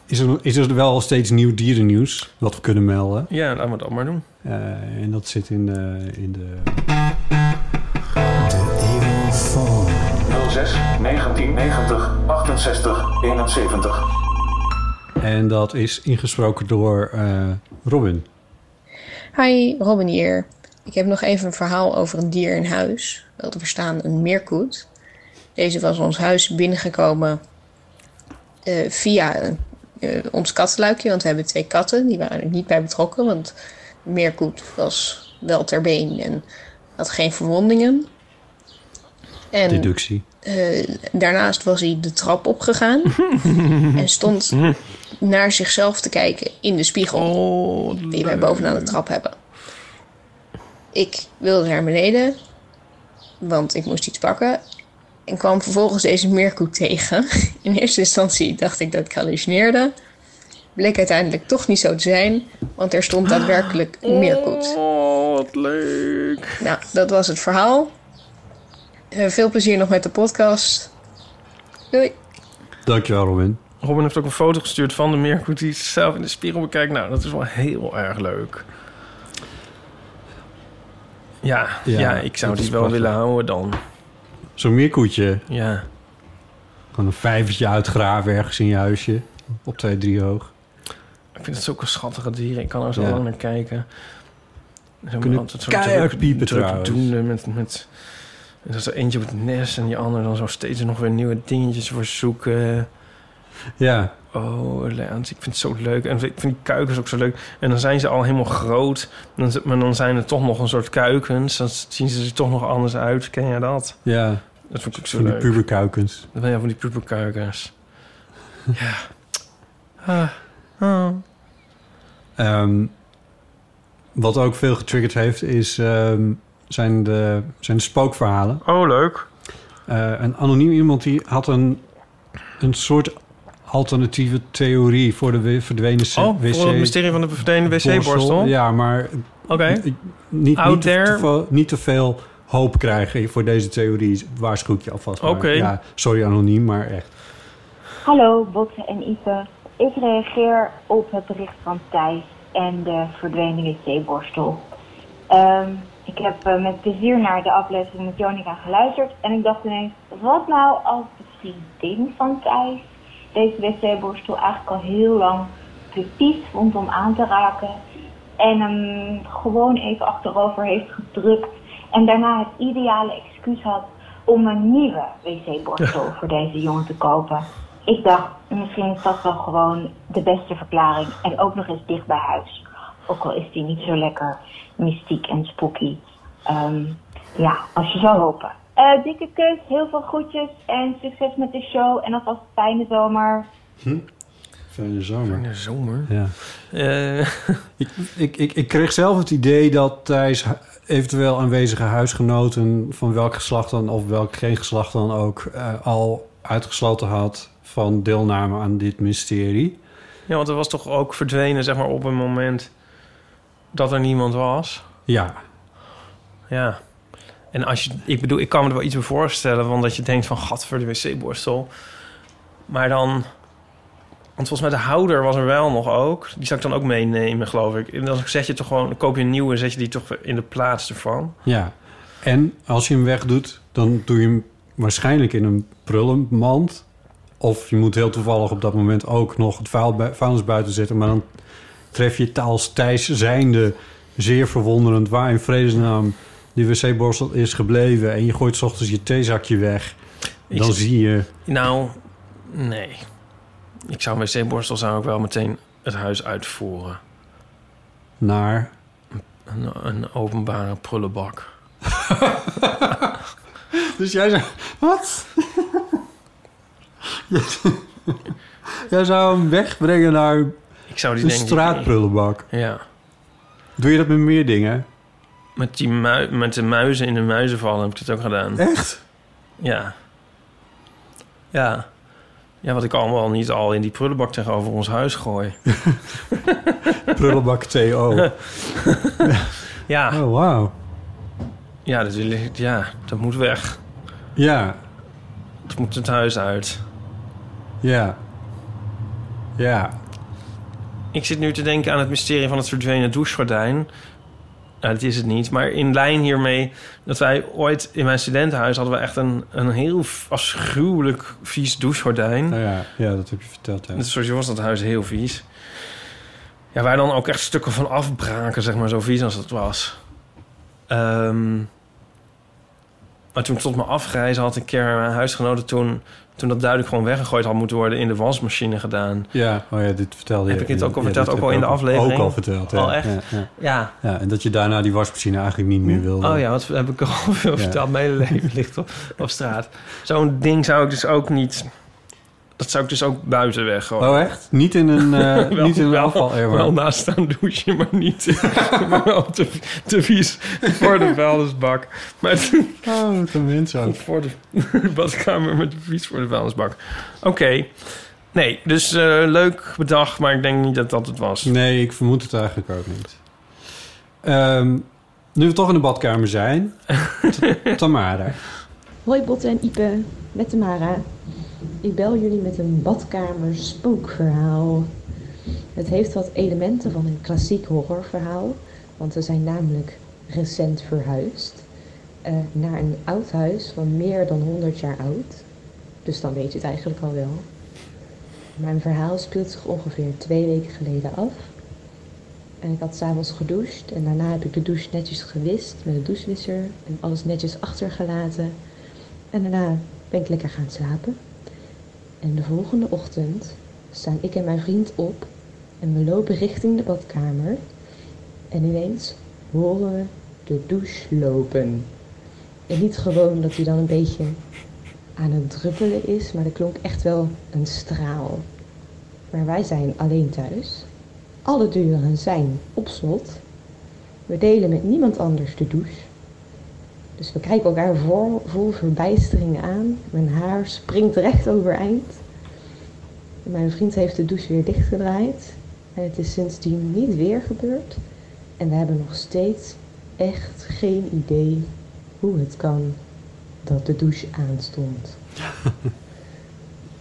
[SPEAKER 2] is, er, is er wel steeds nieuw dierennieuws wat we kunnen melden.
[SPEAKER 3] Ja, laten we dat maar doen.
[SPEAKER 2] Eh, en dat zit in, eh, in de...
[SPEAKER 4] 06 1990 68 71.
[SPEAKER 2] En dat is ingesproken door eh, Robin.
[SPEAKER 5] Hi, Robin hier. Ik heb nog even een verhaal over een dier in huis. Wel te verstaan, een meerkoet. Deze was ons huis binnengekomen eh, via eh, ons kattenluikje. Want we hebben twee katten, die waren er niet bij betrokken. Want de meerkoet was wel ter been en had geen verwondingen. En
[SPEAKER 2] Deductie.
[SPEAKER 5] eh, daarnaast was hij de trap opgegaan. en stond naar zichzelf te kijken in de spiegel
[SPEAKER 3] Oh,
[SPEAKER 5] die wij bovenaan de trap hebben. Ik wilde naar beneden, want ik moest iets pakken. En kwam vervolgens deze meerkoet tegen. In eerste instantie dacht ik dat ik hallucineerde. Bleek uiteindelijk toch niet zo te zijn, want er stond daadwerkelijk een meerkoet.
[SPEAKER 3] Oh, wat leuk.
[SPEAKER 5] Nou, dat was het verhaal. Eh, veel plezier nog met de podcast. Doei.
[SPEAKER 2] Dankjewel, Robin.
[SPEAKER 3] Robin heeft ook een foto gestuurd van de meerkoet die zichzelf in de spiegel bekijkt. Nou, dat is wel heel erg leuk. Ja, ja,
[SPEAKER 2] Ja,
[SPEAKER 3] ik zou
[SPEAKER 2] dat
[SPEAKER 3] die
[SPEAKER 2] is
[SPEAKER 3] wel
[SPEAKER 2] prachtig.
[SPEAKER 3] willen houden dan.
[SPEAKER 2] Zo'n meerkoetje.
[SPEAKER 3] Ja.
[SPEAKER 2] Gewoon een vijvertje uitgraven ergens in je huisje. Op twee, drie hoog.
[SPEAKER 3] Ik vind het zulke schattige dieren. Ik kan er zo
[SPEAKER 2] Ja.
[SPEAKER 3] lang naar kijken. Ze
[SPEAKER 2] Kunnen keihard piepen trouwens.
[SPEAKER 3] doende met... met en dat er eentje op het nest en die ander dan zo steeds nog weer nieuwe dingetjes voor zoeken.
[SPEAKER 2] Ja,
[SPEAKER 3] Oh, Lance, ik vind het zo leuk. En ik vind die kuikens ook zo leuk. En dan zijn ze al helemaal groot. En dan, maar dan zijn er toch nog een soort kuikens. Dan zien ze er toch nog anders uit. Ken jij dat?
[SPEAKER 2] ja.
[SPEAKER 3] Dat vind ik ook zo
[SPEAKER 2] Van die
[SPEAKER 3] leuk.
[SPEAKER 2] puberkuikens.
[SPEAKER 3] Dat ben je van die puberkuikens. ja. Ah. Ah.
[SPEAKER 2] Ehm, wat ook veel getriggerd heeft, is, ehm, zijn, de, zijn de spookverhalen.
[SPEAKER 3] Oh, leuk.
[SPEAKER 2] Eh, een anoniem iemand die had een, een soort alternatieve theorie voor de we- verdwenen c-
[SPEAKER 3] Oh,
[SPEAKER 2] wc.
[SPEAKER 3] voor het mysterie van de verdwenen wc-borstel.
[SPEAKER 2] Ja, maar
[SPEAKER 3] Oké.
[SPEAKER 2] n- niet,
[SPEAKER 3] Out
[SPEAKER 2] niet, te,
[SPEAKER 3] there.
[SPEAKER 2] te veel- niet te veel hoop krijgen voor deze theorie. Waarschuw ik je alvast. maar.
[SPEAKER 3] Oké.
[SPEAKER 2] Ja, sorry anoniem, maar echt.
[SPEAKER 6] Hallo Botte en Ipe. Ik reageer op het bericht van Thijs en de verdwenen wc-borstel. Ehm, ik heb eh, met plezier naar de aflevering met Jonica geluisterd en ik dacht ineens, wat nou als de vriendin van Thijs deze wc-borstel eigenlijk al heel lang precies vond om aan te raken en hem gewoon even achterover heeft gedrukt en daarna het ideale excuus had om een nieuwe wc-borstel voor deze jongen te kopen. Ik dacht, misschien is dat wel gewoon de beste verklaring en ook nog eens dicht bij huis. Ook al is die niet zo lekker mystiek en spooky. Ehm, ja, als je zou hopen. Eh, dikke kus, heel veel groetjes en succes met de show en alvast fijne zomer.
[SPEAKER 2] Fijne zomer.
[SPEAKER 3] In de zomer.
[SPEAKER 2] Ja.
[SPEAKER 3] Eh,
[SPEAKER 2] Ik, ik, ik, ik kreeg zelf het idee dat Thijs hu- eventueel aanwezige huisgenoten... van welk geslacht dan of welk geen geslacht dan ook... eh, al uitgesloten had van deelname aan dit mysterie.
[SPEAKER 3] ja, want er was toch ook verdwenen, zeg maar, op een moment dat er niemand was.
[SPEAKER 2] Ja,
[SPEAKER 3] Ja. En als je, ik bedoel, ik kan me er wel iets bij voorstellen, want dat je denkt van, gat voor de wc-borstel. Maar dan, want volgens mij de houder was er wel nog ook. Die zou ik dan ook meenemen, geloof ik. En dan zet je toch gewoon, dan koop je een nieuwe en zet je die toch in de plaats ervan.
[SPEAKER 2] ja. En als je hem wegdoet, dan doe je hem waarschijnlijk in een prullenmand. Of je moet heel toevallig op dat moment ook nog het vuil bui- vuilnis buiten zetten... maar dan tref je taals Thijs zijnde zeer verwonderend... waar in vredesnaam die wc-borstel is gebleven... en je gooit 's ochtends je theezakje weg.
[SPEAKER 3] Ik-
[SPEAKER 2] Dan zie je...
[SPEAKER 3] Nou, nee. Ik zou een wc-borstel zou ik wel meteen het huis uitvoeren.
[SPEAKER 2] naar.
[SPEAKER 3] Een, een openbare prullenbak.
[SPEAKER 2] Dus jij zou. Wat? Jij- jij zou hem wegbrengen naar
[SPEAKER 3] Ik zou die
[SPEAKER 2] een
[SPEAKER 3] denk ik-
[SPEAKER 2] straatprullenbak.
[SPEAKER 3] Ja.
[SPEAKER 2] Doe je dat met meer dingen?
[SPEAKER 3] Met, die mui- met de muizen in de muizenval heb ik dat ook gedaan.
[SPEAKER 2] Echt?
[SPEAKER 3] Ja. Ja. Ja, wat ik allemaal niet al in die prullenbak tegenover ons huis gooi.
[SPEAKER 2] Prullenbak TO. Oh,
[SPEAKER 3] Ja,
[SPEAKER 2] wauw.
[SPEAKER 3] ja, dat, wil ik- ja dat moet weg.
[SPEAKER 2] Ja,
[SPEAKER 3] Dat moet het huis uit.
[SPEAKER 2] ja. Ja.
[SPEAKER 3] Ik zit nu te denken aan het mysterie van het verdwenen douchegordijn. Nou, dat is het niet. Maar in lijn hiermee dat wij ooit in mijn studentenhuis... hadden we echt een, een heel v- afschuwelijk vies douchegordijn.
[SPEAKER 2] Nou ja, ja, dat heb je verteld. Hè.
[SPEAKER 3] Dus sowieso was dat huis heel vies. Ja, wij dan ook echt stukken van afbraken, zeg maar, zo vies als dat was. Ehm, maar toen ik tot mijn afreizen had een keer mijn huisgenoten toen, toen dat duidelijk gewoon weggegooid had moeten worden in de wasmachine gedaan.
[SPEAKER 2] Ja, oh ja, dit vertelde je.
[SPEAKER 3] Heb ik dit ook al
[SPEAKER 2] Ja,
[SPEAKER 3] verteld?
[SPEAKER 2] dit
[SPEAKER 3] Ook al
[SPEAKER 2] heb
[SPEAKER 3] in
[SPEAKER 2] ik
[SPEAKER 3] de aflevering?
[SPEAKER 2] Ook al verteld, ja.
[SPEAKER 3] Oh, echt?
[SPEAKER 2] Ja, ja.
[SPEAKER 3] Ja.
[SPEAKER 2] Ja, en dat je daarna die wasmachine eigenlijk niet meer wilde.
[SPEAKER 3] Oh ja, wat heb ik al veel
[SPEAKER 2] Ja.
[SPEAKER 3] verteld. Mijn hele leven ligt op, op straat. Zo'n ding zou ik dus ook niet. Dat zou ik dus ook buiten weggooien.
[SPEAKER 2] Oh, echt? Niet in een, eh
[SPEAKER 3] Wel-
[SPEAKER 2] niet in een
[SPEAKER 3] wel-
[SPEAKER 2] afval
[SPEAKER 3] Wel naast aan douchen, maar niet. maar wel te, te vies voor de vuilnisbak. Maar toen
[SPEAKER 2] Oh, wat een mens ook.
[SPEAKER 3] voor de badkamer, maar te vies voor de vuilnisbak. Oké. Nee, dus eh, leuk bedacht, maar ik denk niet dat dat het was.
[SPEAKER 2] Nee, ik vermoed het eigenlijk ook niet. Ehm, nu we toch in de badkamer zijn. T- Tamara.
[SPEAKER 7] Hoi Botte en Ipe, met Tamara. Ik bel jullie met een badkamer spookverhaal. Het heeft wat elementen van een klassiek horrorverhaal, want we zijn namelijk recent verhuisd eh, naar een oud huis van meer dan 100 jaar oud. Dus dan weet je het eigenlijk al wel. Mijn verhaal speelt zich ongeveer twee weken geleden af. En ik had s'avonds gedoucht en daarna heb ik de douche netjes gewist met de douchewisser en alles netjes achtergelaten. En daarna ben ik lekker gaan slapen. En de volgende ochtend staan ik en mijn vriend op en we lopen richting de badkamer. En ineens horen we de douche lopen. En niet gewoon dat hij dan een beetje aan het druppelen is, maar er klonk echt wel een straal. Maar wij zijn alleen thuis. Alle deuren zijn op slot. We delen met niemand anders de douche. Dus we kijken elkaar vol, vol verbijstering aan. Mijn haar springt recht overeind. En Mijn vriend heeft de douche weer dichtgedraaid. En het is sindsdien niet weer gebeurd. En we hebben nog steeds echt geen idee hoe het kan dat de douche aanstond.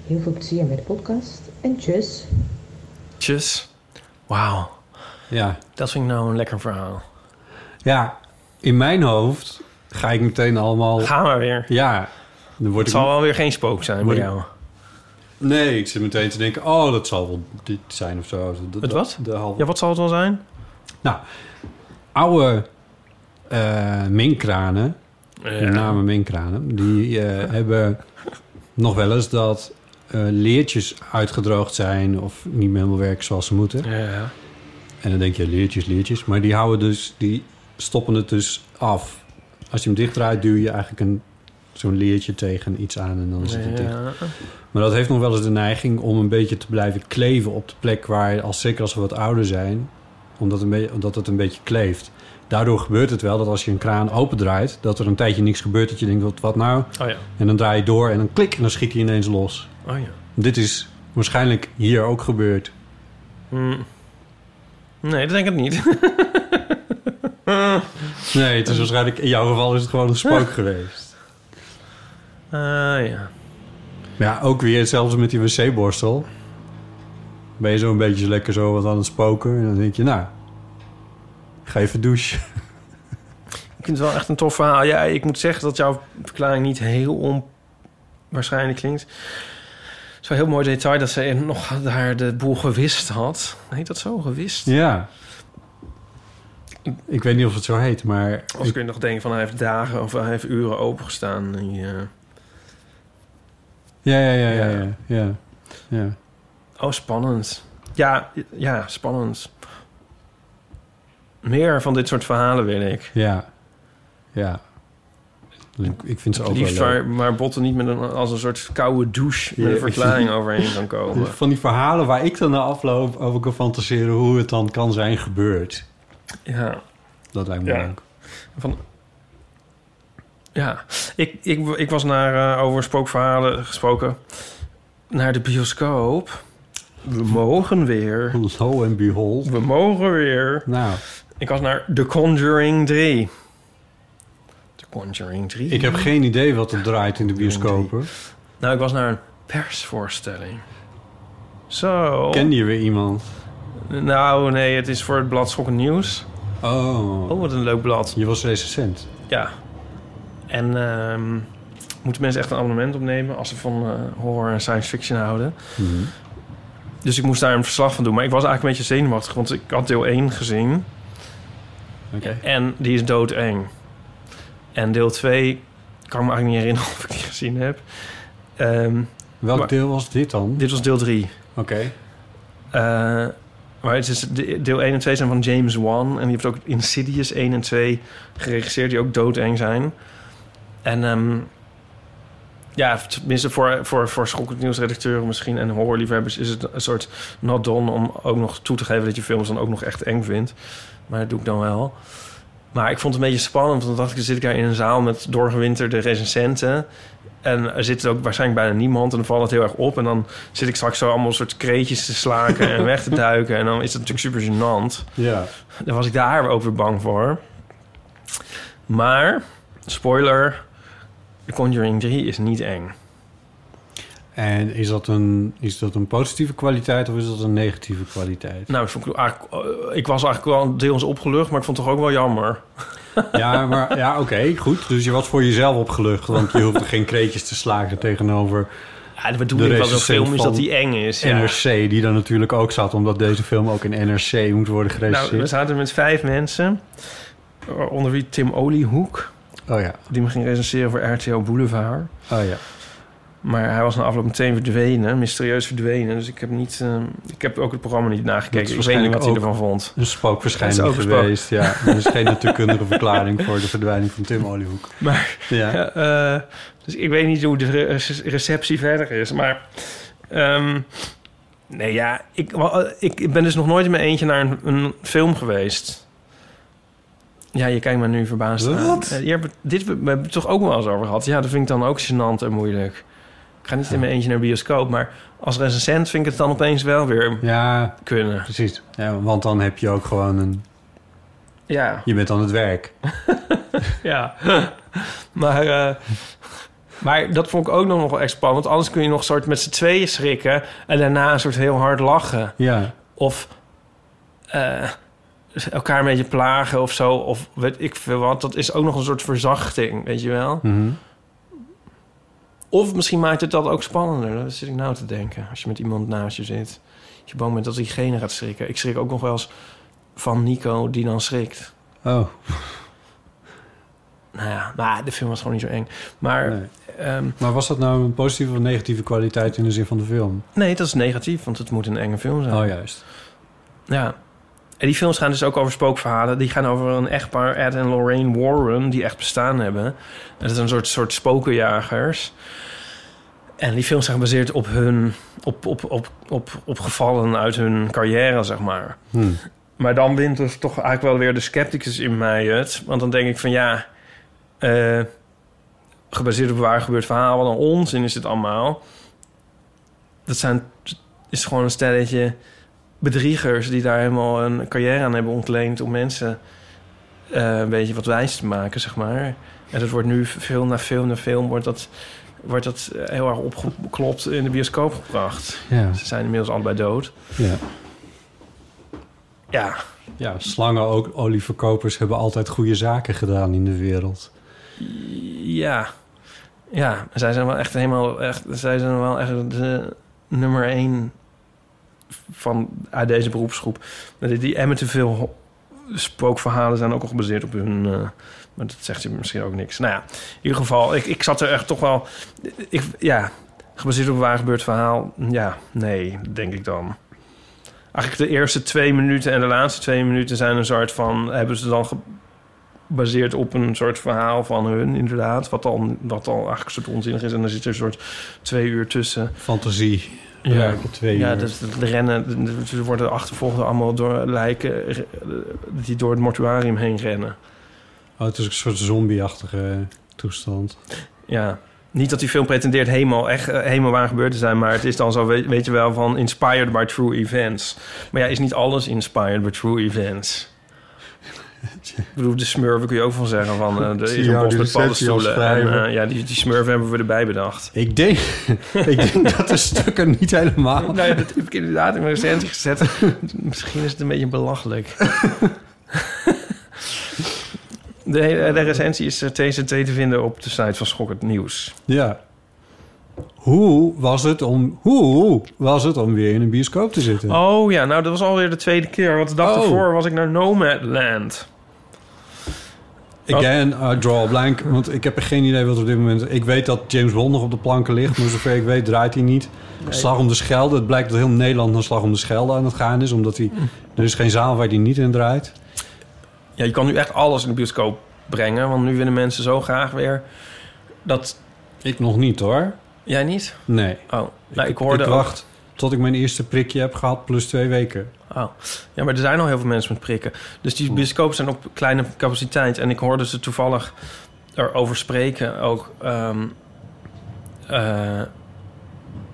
[SPEAKER 7] Heel veel plezier met de podcast en tjus.
[SPEAKER 3] Tjus. Wauw.
[SPEAKER 2] Ja.
[SPEAKER 3] Dat vind ik nou een lekker verhaal.
[SPEAKER 2] Ja, in mijn hoofd ga ik meteen allemaal...
[SPEAKER 3] Gaan we weer.
[SPEAKER 2] Ja. Dan word
[SPEAKER 3] Het
[SPEAKER 2] ik
[SPEAKER 3] zal wel weer geen spook zijn bij
[SPEAKER 2] Word ik-
[SPEAKER 3] jou.
[SPEAKER 2] Nee, ik zit meteen te denken, oh, dat zal wel dit zijn of zo. Dat-
[SPEAKER 3] Het wat?
[SPEAKER 2] De halve...
[SPEAKER 3] Ja, wat zal het wel zijn?
[SPEAKER 2] Nou, oude eh minkranen,
[SPEAKER 3] Ja.
[SPEAKER 2] met name minkranen, die eh, hebben nog wel eens dat eh, leertjes uitgedroogd zijn of niet meer helemaal werken zoals ze moeten.
[SPEAKER 3] Ja.
[SPEAKER 2] En dan denk je, leertjes, leertjes. Maar die houden dus, die stoppen het dus af. Als je hem dichtdraait, duw je eigenlijk een, zo'n leertje tegen iets aan en dan is het weer dicht.
[SPEAKER 3] Ja.
[SPEAKER 2] Maar dat heeft nog wel eens de neiging om een beetje te blijven kleven op de plek waar, je- als, zeker als we wat ouder zijn, omdat, een beetje, omdat het een beetje kleeft. Daardoor gebeurt het wel dat als je een kraan opendraait, dat er een tijdje niks gebeurt. Dat je denkt, wat, wat nou?
[SPEAKER 3] Oh ja.
[SPEAKER 2] En dan draai je door en dan klik en dan schiet hij ineens los.
[SPEAKER 3] Oh ja.
[SPEAKER 2] Dit is waarschijnlijk hier ook gebeurd.
[SPEAKER 3] Hm. Nee, dat denk ik niet.
[SPEAKER 2] Nee, het is waarschijnlijk, in jouw geval is het gewoon een spook geweest.
[SPEAKER 3] Ah ja.
[SPEAKER 2] Maar ja, ook weer zelfs met die wc-borstel. Ben je zo'n beetje lekker zo wat aan het spoken. En dan denk je, nou, ik ga even douchen.
[SPEAKER 3] Ik vind het wel echt een tof verhaal. Ja, ik moet zeggen dat jouw verklaring niet heel onwaarschijnlijk klinkt. Het is wel een heel mooi detail dat ze nog daar de boel gewist had. Heet dat zo? Gewist?
[SPEAKER 2] Ja. Ik weet niet of het zo heet, maar...
[SPEAKER 3] Als kun je nog denken van hij heeft dagen of hij heeft uren opengestaan. En eh, je-
[SPEAKER 2] Ja, ja, ja, ja, ja. ja, ja.
[SPEAKER 3] Oh, spannend. Ja, ja, spannend. Meer van dit soort verhalen wil ik.
[SPEAKER 2] Ja. Ja. Ik, ik vind ze
[SPEAKER 3] Het
[SPEAKER 2] ook wel
[SPEAKER 3] liefst
[SPEAKER 2] leuk.
[SPEAKER 3] waar, waar botten niet met een, als een soort koude douche met een
[SPEAKER 2] Ja.
[SPEAKER 3] verklaring overheen kan komen.
[SPEAKER 2] Dus Van die verhalen waar ik dan na afloop over kan fantaseren... hoe het dan kan zijn gebeurd.
[SPEAKER 3] Ja.
[SPEAKER 2] Dat lijkt me
[SPEAKER 3] Ja.
[SPEAKER 2] leuk.
[SPEAKER 3] Van, ja, ik, ik, ik was naar, eh, over spookverhalen gesproken naar de bioscoop. We mogen weer.
[SPEAKER 2] Lo en behold.
[SPEAKER 3] We mogen weer.
[SPEAKER 2] Nou.
[SPEAKER 3] Ik was naar The Conjuring 3. The Conjuring 3.
[SPEAKER 2] Ik heb geen idee wat er draait in de bioscopen.
[SPEAKER 3] Nou, ik was naar een persvoorstelling. Zo.
[SPEAKER 2] Ken je weer iemand?
[SPEAKER 3] Nou, nee, het is voor het blad Schokken Nieuws.
[SPEAKER 2] Oh.
[SPEAKER 3] Oh, wat een leuk blad.
[SPEAKER 2] Je was recensent.
[SPEAKER 3] Ja. En ehm, moeten mensen echt een abonnement opnemen als ze van eh, horror en science fiction houden.
[SPEAKER 2] Mhm.
[SPEAKER 3] Dus ik moest daar een verslag van doen. Maar ik was eigenlijk een beetje zenuwachtig, want ik had deel 1 gezien.
[SPEAKER 2] Oké.
[SPEAKER 3] En die is doodeng. En deel 2 kan ik me eigenlijk niet herinneren of ik die gezien heb. Ehm,
[SPEAKER 2] Welk
[SPEAKER 3] maar-
[SPEAKER 2] deel was dit dan?
[SPEAKER 3] Dit was deel 3.
[SPEAKER 2] Oké.
[SPEAKER 3] Eh, maar het is, de- deel 1 en 2 zijn van James Wan. En die heeft ook Insidious 1 en 2 geregisseerd, die ook doodeng zijn. En ehm, ja, tenminste voor, voor, voor schokkend nieuwsredacteuren misschien en horrorliefhebbers... is het een soort not done om ook nog toe te geven dat je films dan ook nog echt eng vindt. Maar dat doe ik dan wel. Maar ik vond het een beetje spannend, want dan dacht ik, zit ik daar in een zaal met doorgewinterde recensenten... En er zit ook waarschijnlijk bijna niemand. En dan valt het heel erg op. En dan zit ik straks zo allemaal soort kreetjes te slaken en weg te duiken. En dan is dat natuurlijk super gênant.
[SPEAKER 2] Ja.
[SPEAKER 3] Daar was ik daar ook weer bang voor. Maar, spoiler, The Conjuring 3 is niet eng.
[SPEAKER 2] En is dat, een, is dat een positieve kwaliteit of is dat een negatieve kwaliteit?
[SPEAKER 3] Nou, ik, vond het eigenlijk, eh, ik was eigenlijk wel deels opgelucht, maar ik vond het toch ook wel jammer.
[SPEAKER 2] Ja, maar ja, oké, goed. Dus je was voor jezelf opgelucht, want je hoefde geen kreetjes te slagen tegenover.
[SPEAKER 3] Ja, de bedoeling van zo'n film is dat die eng is, ja.
[SPEAKER 2] NRC, die dan natuurlijk ook zat, omdat deze film ook in NRC moet worden
[SPEAKER 3] Nou, we
[SPEAKER 2] gerecenseerd.
[SPEAKER 3] zaten met vijf mensen, onder wie Tim Oliehoek.
[SPEAKER 2] Oh ja.
[SPEAKER 3] Die me ging recenseren voor RTL Boulevard.
[SPEAKER 2] Oh ja.
[SPEAKER 3] Maar hij was na afloop meteen verdwenen, mysterieus verdwenen. Dus ik heb, niet, eh, ik heb ook het programma niet
[SPEAKER 2] Dat is
[SPEAKER 3] nagekeken. Ik weet niet
[SPEAKER 2] waarschijnlijk
[SPEAKER 3] wat hij
[SPEAKER 2] ook
[SPEAKER 3] ervan vond.
[SPEAKER 2] Een spookverschijning
[SPEAKER 3] Dat is ook een spook.
[SPEAKER 2] geweest, ja. Er is geen natuurkundige verklaring voor de verdwijning van Tim Oliehoek.
[SPEAKER 3] Maar,
[SPEAKER 2] Ja.
[SPEAKER 3] ja, eh, dus ik weet niet hoe de re- receptie verder is. Maar, ehm, nee ja, ik, wel, eh, ik ben dus nog nooit in mijn eentje naar een, een film geweest. Ja, je kijkt me nu verbaasd aan.
[SPEAKER 2] Wat?
[SPEAKER 3] Eh, Je hebt het- dit we hebben het toch ook wel eens over gehad. Ja, dat vind ik dan ook gênant en moeilijk. Ik ga niet in mijn eentje naar bioscoop, maar als recensent vind ik het dan opeens wel weer
[SPEAKER 2] ja,
[SPEAKER 3] kunnen.
[SPEAKER 2] Precies. Ja, want dan heb je ook gewoon een...
[SPEAKER 3] Ja.
[SPEAKER 2] Je bent aan het werk.
[SPEAKER 3] ja. maar, eh, maar dat vond ik ook nog wel echt spannend. Want anders kun je nog soort met z'n tweeën schrikken... en daarna een soort heel hard lachen.
[SPEAKER 2] Ja.
[SPEAKER 3] Of eh, elkaar een beetje plagen of zo. Of weet ik veel wat. Dat is ook nog een soort verzachting, weet je wel?
[SPEAKER 2] Mhm.
[SPEAKER 3] Of misschien maakt het dat ook spannender. Dat zit ik nou te denken. Als je met iemand naast je zit. Dat je bang bent dat diegene gaat schrikken. Ik schrik ook nog wel eens van Nico die dan schrikt.
[SPEAKER 2] Oh.
[SPEAKER 3] Nou ja, maar de film was gewoon niet zo eng. Maar ehm, nee.
[SPEAKER 2] Maar was dat nou een positieve of negatieve kwaliteit in de zin van de film?
[SPEAKER 3] nee, dat is negatief, want het moet een enge film zijn.
[SPEAKER 2] Oh, juist.
[SPEAKER 3] Ja. En die films gaan dus ook over spookverhalen. Die gaan over een echtpaar, Ed en Lorraine Warren, die echt bestaan hebben. En dat is een soort, soort spokenjagers. En die films zijn gebaseerd op hun... op, op, op, op, op gevallen uit hun carrière, zeg maar.
[SPEAKER 2] Hmm.
[SPEAKER 3] Maar dan wint dus toch eigenlijk wel weer de scepticus in mij het. Want dan denk ik van ja, eh, gebaseerd op waar gebeurd verhaal, wat een onzin is het allemaal. Dat zijn, is gewoon een stelletje bedriegers die daar helemaal een carrière aan hebben ontleend om mensen eh, een beetje wat wijs te maken, zeg maar. En dat wordt nu film na film na film wordt dat, wordt dat eh, heel erg opgeklopt in de bioscoop gebracht.
[SPEAKER 2] Ja.
[SPEAKER 3] Ze zijn inmiddels allebei dood.
[SPEAKER 2] Ja.
[SPEAKER 3] Ja,
[SPEAKER 2] Ja, slangen, ook olieverkopers, hebben altijd goede zaken gedaan in de wereld.
[SPEAKER 3] Ja. Ja, zij zijn wel echt helemaal... Echt, zij zijn wel echt de nummer één van, uit deze beroepsgroep. Die, die Amityville ho- spookverhalen zijn ook al gebaseerd op hun... eh, maar dat zegt je misschien ook niks. Nou ja, in ieder geval, ik, ik zat er echt toch wel... Ik, ja, gebaseerd op een waar gebeurd verhaal. Ja, nee, denk ik dan. Eigenlijk de eerste twee minuten en de laatste twee minuten zijn een soort van... hebben ze dan gebaseerd op een soort verhaal van hun, inderdaad. Wat al, wat al eigenlijk een soort onzinnig is. En er zit een soort twee uur tussen. Eh,
[SPEAKER 2] Fantasie. Werken twee
[SPEAKER 3] ja
[SPEAKER 2] uur.
[SPEAKER 3] dat, dat rennen. dat- Ze worden achtervolgd allemaal door lijken eh, die door het mortuarium heen rennen.
[SPEAKER 2] Oh, het is een soort zombieachtige toestand.
[SPEAKER 3] Ja. Niet dat die film pretendeert helemaal, echt, eh, helemaal waar gebeurd te zijn, maar het is dan zo, weet, weet je wel, van inspired by true events. Maar ja, is niet alles inspired by true events? Ik bedoel, de smurven kun je ook van zeggen van, eh
[SPEAKER 2] Ik
[SPEAKER 3] er
[SPEAKER 2] zie
[SPEAKER 3] is een
[SPEAKER 2] jou
[SPEAKER 3] bos
[SPEAKER 2] die
[SPEAKER 3] met
[SPEAKER 2] recensie al
[SPEAKER 3] paddenstoelen. En,
[SPEAKER 2] schrijven.
[SPEAKER 3] eh, ja, die, die smurven hebben we erbij bedacht.
[SPEAKER 2] Ik denk, ik denk dat de stukken niet helemaal...
[SPEAKER 3] Nou ja, dat heb ik inderdaad in mijn recensie gezet. Misschien is het een beetje belachelijk. De, hele- de recensie is eh, TCT te vinden op de site van Schokkend Nieuws.
[SPEAKER 2] Ja. Hoe was, het om, hoe was het om weer in een bioscoop te zitten?
[SPEAKER 3] Oh ja, nou dat was alweer de tweede keer. Want de dag
[SPEAKER 2] Oh.
[SPEAKER 3] ervoor was ik naar Nomadland. Oh.
[SPEAKER 2] Again, I draw a blank. Want ik heb er geen idee wat er op dit moment... Ik weet dat James Bond nog op de planken ligt. Maar zover ik weet draait hij niet.
[SPEAKER 3] Nee.
[SPEAKER 2] Slag om de Schelde. Het blijkt dat heel Nederland naar Slag om de Schelde aan het gaan is. Omdat hij...
[SPEAKER 3] Hm.
[SPEAKER 2] Er is geen zaal waar hij niet in draait.
[SPEAKER 3] Ja, je kan nu echt alles in de bioscoop brengen. Want nu willen mensen zo graag weer dat...
[SPEAKER 2] Ik nog niet hoor.
[SPEAKER 3] Jij niet?
[SPEAKER 2] Nee.
[SPEAKER 3] Oh, nou, ik hoorde ook-
[SPEAKER 2] wacht tot ik mijn eerste prikje heb gehad. Plus twee weken.
[SPEAKER 3] Oh. Ja, maar er zijn al heel veel mensen met prikken. Dus die bioscopen zijn op kleine capaciteit. En ik hoorde ze toevallig erover spreken ook. ehm, eh,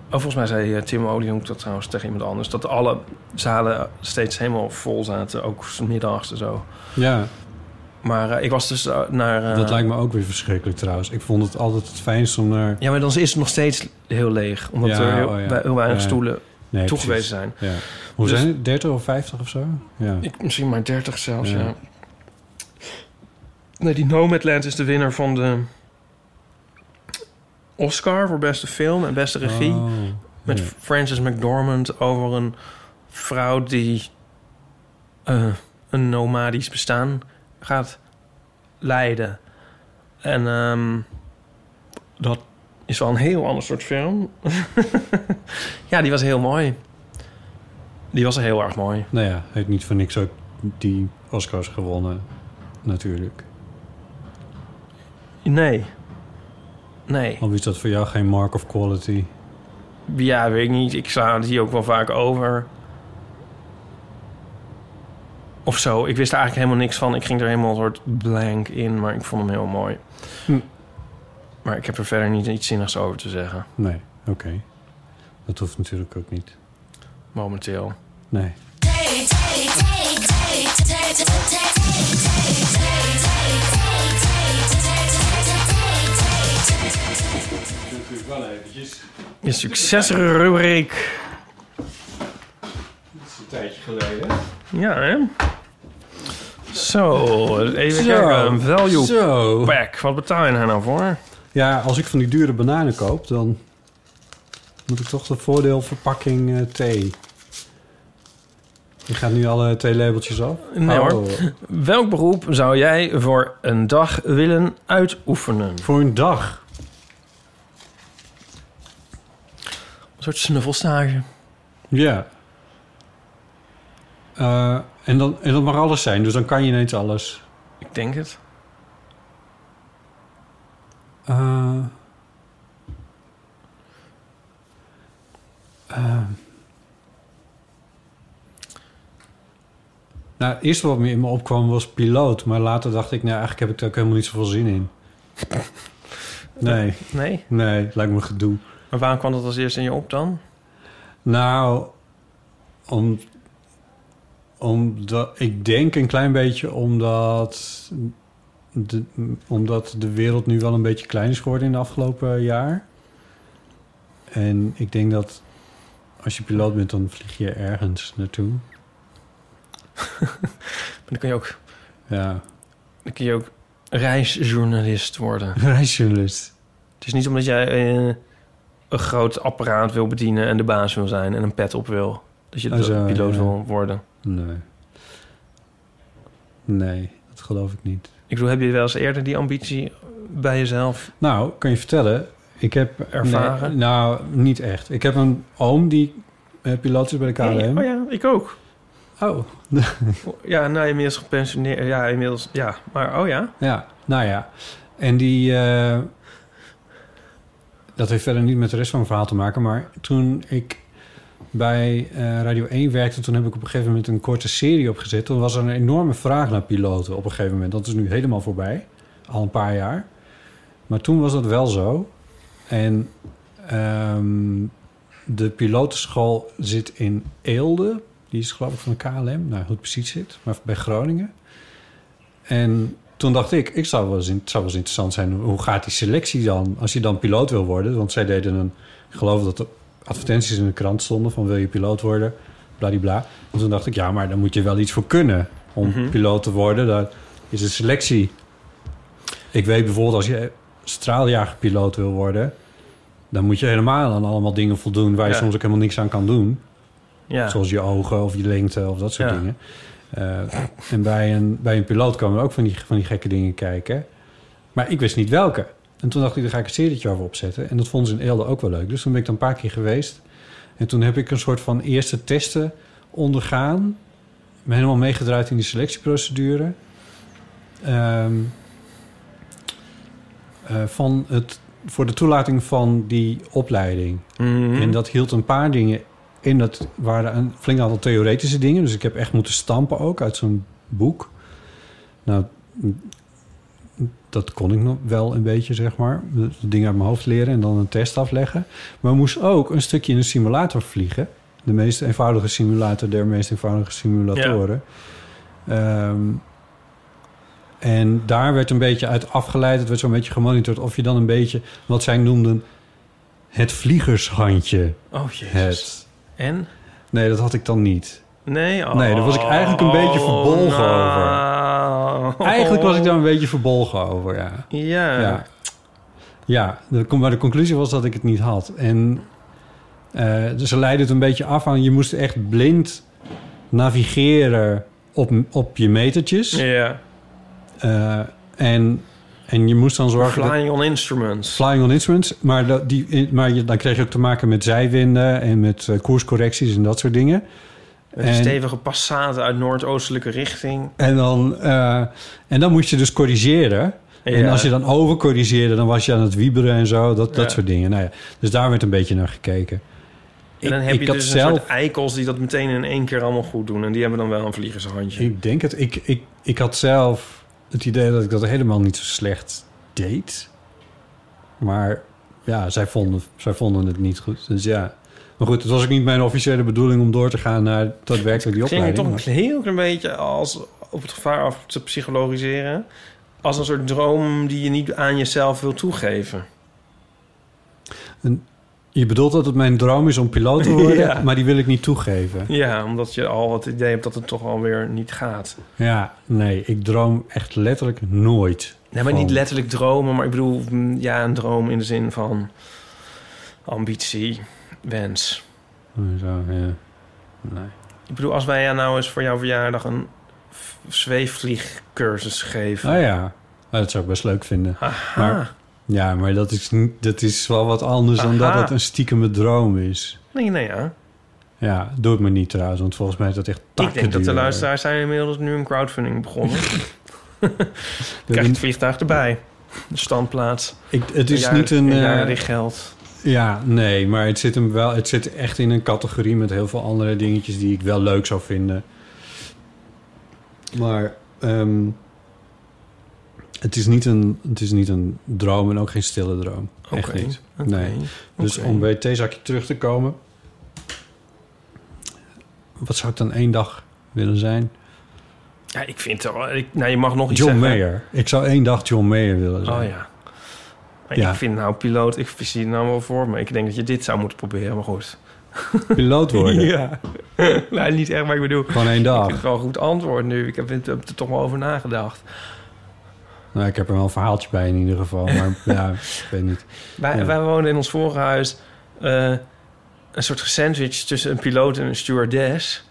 [SPEAKER 3] oh, volgens mij zei eh, Tim Oliehoek dat trouwens tegen iemand anders. Dat alle zalen steeds helemaal vol zaten. Ook 's middags en zo.
[SPEAKER 2] Ja.
[SPEAKER 3] Maar eh, ik was dus eh, naar... eh,
[SPEAKER 2] dat lijkt me ook weer verschrikkelijk trouwens. Ik vond het altijd het fijnst om naar...
[SPEAKER 3] Ja, maar dan is het nog steeds heel leeg. Omdat er heel,
[SPEAKER 2] oh ja.
[SPEAKER 3] we- heel weinig
[SPEAKER 2] Ja.
[SPEAKER 3] stoelen
[SPEAKER 2] Nee,
[SPEAKER 3] toegewezen
[SPEAKER 2] precies.
[SPEAKER 3] zijn.
[SPEAKER 2] Ja. Hoe
[SPEAKER 3] Dus-
[SPEAKER 2] zijn het? 30 of 50 of zo? Ja.
[SPEAKER 3] Ik, misschien maar 30 zelfs,
[SPEAKER 2] Ja.
[SPEAKER 3] ja. Nee, die Nomadland is de winnaar van de Oscar voor beste film en beste regie.
[SPEAKER 2] Oh,
[SPEAKER 3] met
[SPEAKER 2] ja.
[SPEAKER 3] Frances McDormand over een vrouw die eh, een nomadisch bestaan gaat leiden. En ehm, dat is wel een heel ander soort film. ja, die was heel mooi. Die was heel erg mooi.
[SPEAKER 2] Nou ja, heeft niet voor niks ook die Oscars gewonnen, natuurlijk.
[SPEAKER 3] Nee. Nee.
[SPEAKER 2] Al is dat voor jou geen mark of quality.
[SPEAKER 3] Ja, weet ik niet. Ik sla die ook wel vaak over. Of zo. Ik wist er eigenlijk helemaal niks van. Ik ging er helemaal een soort blank in, maar ik vond hem heel mooi.
[SPEAKER 2] Hm.
[SPEAKER 3] Maar ik heb er verder niet iets zinnigs over te zeggen,
[SPEAKER 2] Nee, oké. Dat hoeft natuurlijk ook niet.
[SPEAKER 3] momenteel.
[SPEAKER 2] Nee.
[SPEAKER 3] Je succesrubriek.
[SPEAKER 2] Dat is een tijdje geleden.
[SPEAKER 3] Ja, hè? Zo, even
[SPEAKER 2] Zo,
[SPEAKER 3] kijken. Een value
[SPEAKER 2] zo.
[SPEAKER 3] pack. Wat betaal je daar nou voor?
[SPEAKER 2] Ja, als ik van die dure bananen koop, dan moet ik toch de voordeelverpakking eh, thee. Je gaat nu alle theelabeltjes af?
[SPEAKER 3] Nee
[SPEAKER 2] Oh.
[SPEAKER 3] hoor. Welk beroep zou jij voor een dag willen uitoefenen?
[SPEAKER 2] Voor een dag?
[SPEAKER 3] Een soort snuffelstage.
[SPEAKER 2] Ja. Eh, en, dan, en dat mag alles zijn, dus dan kan je ineens alles.
[SPEAKER 3] Ik denk het.
[SPEAKER 2] Eh. Eh. nou, het eerste wat me in me opkwam was piloot. Maar later dacht ik, nou, eigenlijk heb ik daar ook helemaal niet zoveel zin in. Nee.
[SPEAKER 3] Nee?
[SPEAKER 2] Nee, het lijkt me gedoe.
[SPEAKER 3] Maar waarom kwam dat als eerste in je op dan?
[SPEAKER 2] Nou, om, omdat, ik denk een klein beetje omdat de, omdat de wereld nu wel een beetje klein is geworden in de afgelopen jaar. En ik denk dat als je piloot bent, dan vlieg je ergens naartoe.
[SPEAKER 3] Maar dan kun je ook,
[SPEAKER 2] Ja,
[SPEAKER 3] dan kun je ook reisjournalist worden.
[SPEAKER 2] reisjournalist.
[SPEAKER 3] Het is niet omdat jij eh, een groot apparaat wil bedienen en de baas wil zijn en een pet op wil. Dat je
[SPEAKER 2] Oh, zo,
[SPEAKER 3] piloot
[SPEAKER 2] ja.
[SPEAKER 3] wil worden.
[SPEAKER 2] Nee. Nee, dat geloof ik niet.
[SPEAKER 3] Ik bedoel, heb je wel eens eerder die ambitie bij jezelf?
[SPEAKER 2] Nou, kan je vertellen, ik heb
[SPEAKER 3] Ervaren?
[SPEAKER 2] Nee, nou, niet echt. Ik heb een oom die eh, piloot is bij de KLM.
[SPEAKER 3] Nee, oh ja, ik ook.
[SPEAKER 2] Oh.
[SPEAKER 3] Ja, nou, inmiddels gepensioneerd. Ja, inmiddels, ja. Maar, oh ja.
[SPEAKER 2] Ja, nou ja. En die... eh, dat heeft verder niet met de rest van mijn verhaal te maken. Maar toen ik bij eh, Radio 1 werkte... toen heb ik op een gegeven moment een korte serie opgezet. Toen was er een enorme vraag naar piloten op een gegeven moment. Dat is nu helemaal voorbij. Al een paar jaar. Maar toen was dat wel zo. En ehm, de pilotenschool zit in Eelde. Die is geloof ik van de KLM. Nou, hoe het precies zit. Maar bij Groningen. En toen dacht ik, ik zou wel eens, in- het zou wel eens interessant zijn... hoe gaat die selectie dan als je dan piloot wil worden? Want zij deden een... Ik geloof dat er advertenties in de krant stonden van... wil je piloot worden? Bladibla. En toen dacht ik, ja, maar daar moet je wel iets voor kunnen... om
[SPEAKER 3] Mhm.
[SPEAKER 2] piloot te worden. Daar is een selectie. Ik weet bijvoorbeeld als je straaljagerpiloot wil worden... dan moet je helemaal aan allemaal dingen voldoen... waar je
[SPEAKER 3] Ja.
[SPEAKER 2] soms ook helemaal niks aan kan doen.
[SPEAKER 3] Ja.
[SPEAKER 2] Zoals je ogen of je lengte of dat soort
[SPEAKER 3] Ja.
[SPEAKER 2] dingen. Eh, en bij een, bij een piloot komen we ook van die, van die gekke dingen kijken. Maar ik wist niet welke. En toen dacht ik, daar ga ik een serietje over opzetten. En dat vonden ze in Eelde ook wel leuk. Dus toen ben ik er een paar keer geweest. En toen heb ik een soort van eerste testen ondergaan. Ik ben helemaal meegedraaid in die selectieprocedure. Ehm, eh, van het, voor de toelating van die opleiding.
[SPEAKER 3] Mhm.
[SPEAKER 2] En dat hield een paar dingen in. Dat waren een flink aantal theoretische dingen. Dus ik heb echt moeten stampen ook uit zo'n boek. Nou, dat kon ik nog wel een beetje, zeg maar. De dingen uit mijn hoofd leren en dan een test afleggen. Maar ik moest ook een stukje in een simulator vliegen. De meest eenvoudige simulator der meest eenvoudige simulatoren. Ehm, En daar werd een beetje uit afgeleid. Het werd zo'n beetje gemonitord of je dan een beetje... wat zij noemden het vliegershandje
[SPEAKER 3] Oh, jezus.
[SPEAKER 2] hebt.
[SPEAKER 3] En?
[SPEAKER 2] Nee, dat had ik dan niet.
[SPEAKER 3] Nee? Oh,
[SPEAKER 2] Nee, daar was ik eigenlijk een beetje verbolgen over. Eigenlijk was ik daar een beetje verbolgen over, ja.
[SPEAKER 3] nou. Ja.
[SPEAKER 2] Ja, ja de- kom- maar de conclusie was dat ik het niet had. En eh, dus ze leidde het een beetje af aan... je moest echt blind navigeren op, op je metertjes.
[SPEAKER 3] Ja.
[SPEAKER 2] Eh, en, en je moest dan zorgen... dat-
[SPEAKER 3] Flying on instruments.
[SPEAKER 2] Flying on instruments. Maar, dat, die, in- maar je, dan kreeg je ook te maken met zijwinden... en met eh, koerscorrecties en dat soort dingen.
[SPEAKER 3] Met een stevige passade uit noordoostelijke richting.
[SPEAKER 2] En dan, eh, en dan moest je dus corrigeren.
[SPEAKER 3] Ja.
[SPEAKER 2] En als je dan overcorrigeerde, dan was je aan het wieberen en zo. Dat,
[SPEAKER 3] Ja.
[SPEAKER 2] dat soort dingen. Nou ja, dus daar werd een beetje naar gekeken.
[SPEAKER 3] En dan heb
[SPEAKER 2] ik
[SPEAKER 3] je
[SPEAKER 2] had
[SPEAKER 3] dus een
[SPEAKER 2] zelf-
[SPEAKER 3] soort eikels die dat meteen in één keer allemaal goed doen. En die hebben dan wel een vliegershandje.
[SPEAKER 2] Ik denk het. Ik, ik, ik had zelf het idee dat ik dat helemaal niet zo slecht deed. Maar ja, zij vonden, zij vonden het niet goed. Dus ja. Maar goed, het was ook niet mijn officiële bedoeling om door te gaan naar daadwerkelijk die
[SPEAKER 3] Het ging
[SPEAKER 2] opleiding.
[SPEAKER 3] toch
[SPEAKER 2] maar-
[SPEAKER 3] een heel klein beetje als op het gevaar af te psychologiseren. Als een soort droom die je niet aan jezelf wil toegeven.
[SPEAKER 2] En je bedoelt dat het mijn droom is om piloot te worden,
[SPEAKER 3] Ja.
[SPEAKER 2] maar die wil ik niet toegeven.
[SPEAKER 3] Ja, omdat je al het idee hebt dat het toch alweer niet gaat.
[SPEAKER 2] Ja, nee, ik droom echt letterlijk nooit.
[SPEAKER 3] Nee, maar
[SPEAKER 2] van-
[SPEAKER 3] niet letterlijk dromen, maar ik bedoel, mm, ja, een droom in de zin van ambitie, wens.
[SPEAKER 2] Zo, ja. Nee.
[SPEAKER 3] Ik bedoel, als wij jou nou eens voor jouw verjaardag een v- zweefvliegcursus geven.
[SPEAKER 2] Oh ja, Ah, dat zou ik best leuk vinden.
[SPEAKER 3] Aha.
[SPEAKER 2] Maar, ja, maar dat is, niet, dat is wel wat anders dan
[SPEAKER 3] Aha.
[SPEAKER 2] dat het een stiekeme droom is.
[SPEAKER 3] Nee, nee, ja.
[SPEAKER 2] Ja, doe het me niet trouwens, want volgens mij is dat echt
[SPEAKER 3] Ik
[SPEAKER 2] takken
[SPEAKER 3] denk dat de
[SPEAKER 2] duur.
[SPEAKER 3] luisteraars zijn inmiddels nu een crowdfunding begonnen. Krijg je
[SPEAKER 2] een-
[SPEAKER 3] het vliegtuig erbij. De standplaats.
[SPEAKER 2] Ik- het is
[SPEAKER 3] jaar-
[SPEAKER 2] niet een, eh,
[SPEAKER 3] jaarlijks geld.
[SPEAKER 2] Ja, nee, maar het zit, hem wel, het zit echt in een categorie met heel veel andere dingetjes die ik wel leuk zou vinden. Maar ehm, het, is niet een, het is niet een droom en ook geen stille droom. Echt
[SPEAKER 3] Oké,
[SPEAKER 2] niet.
[SPEAKER 3] oké,
[SPEAKER 2] nee. Dus
[SPEAKER 3] oké.
[SPEAKER 2] om bij het theezakje terug te komen. Wat zou ik dan één dag willen zijn?
[SPEAKER 3] Ja, ik vind het wel... Ik, nou, je mag nog iets
[SPEAKER 2] John
[SPEAKER 3] zeggen.
[SPEAKER 2] Mayer. Ik zou één dag John Mayer willen zijn.
[SPEAKER 3] Oh ja. Maar
[SPEAKER 2] Ja.
[SPEAKER 3] Ik vind nou piloot, ik zie het nou wel voor me. Ik denk dat je dit zou moeten proberen, maar goed.
[SPEAKER 2] Piloot worden.
[SPEAKER 3] Ja. nou, niet echt, maar ik bedoel...
[SPEAKER 2] Gewoon één
[SPEAKER 3] Ik
[SPEAKER 2] dag.
[SPEAKER 3] vind het wel een goed antwoord nu. Ik heb, het- heb er toch wel over nagedacht.
[SPEAKER 2] Nou, ik heb er wel een verhaaltje bij in ieder geval. Maar ja, ik weet niet.
[SPEAKER 3] Wij,
[SPEAKER 2] Ja.
[SPEAKER 3] wij woonden in ons vorige huis eh, een soort sandwich tussen een piloot en een stewardess.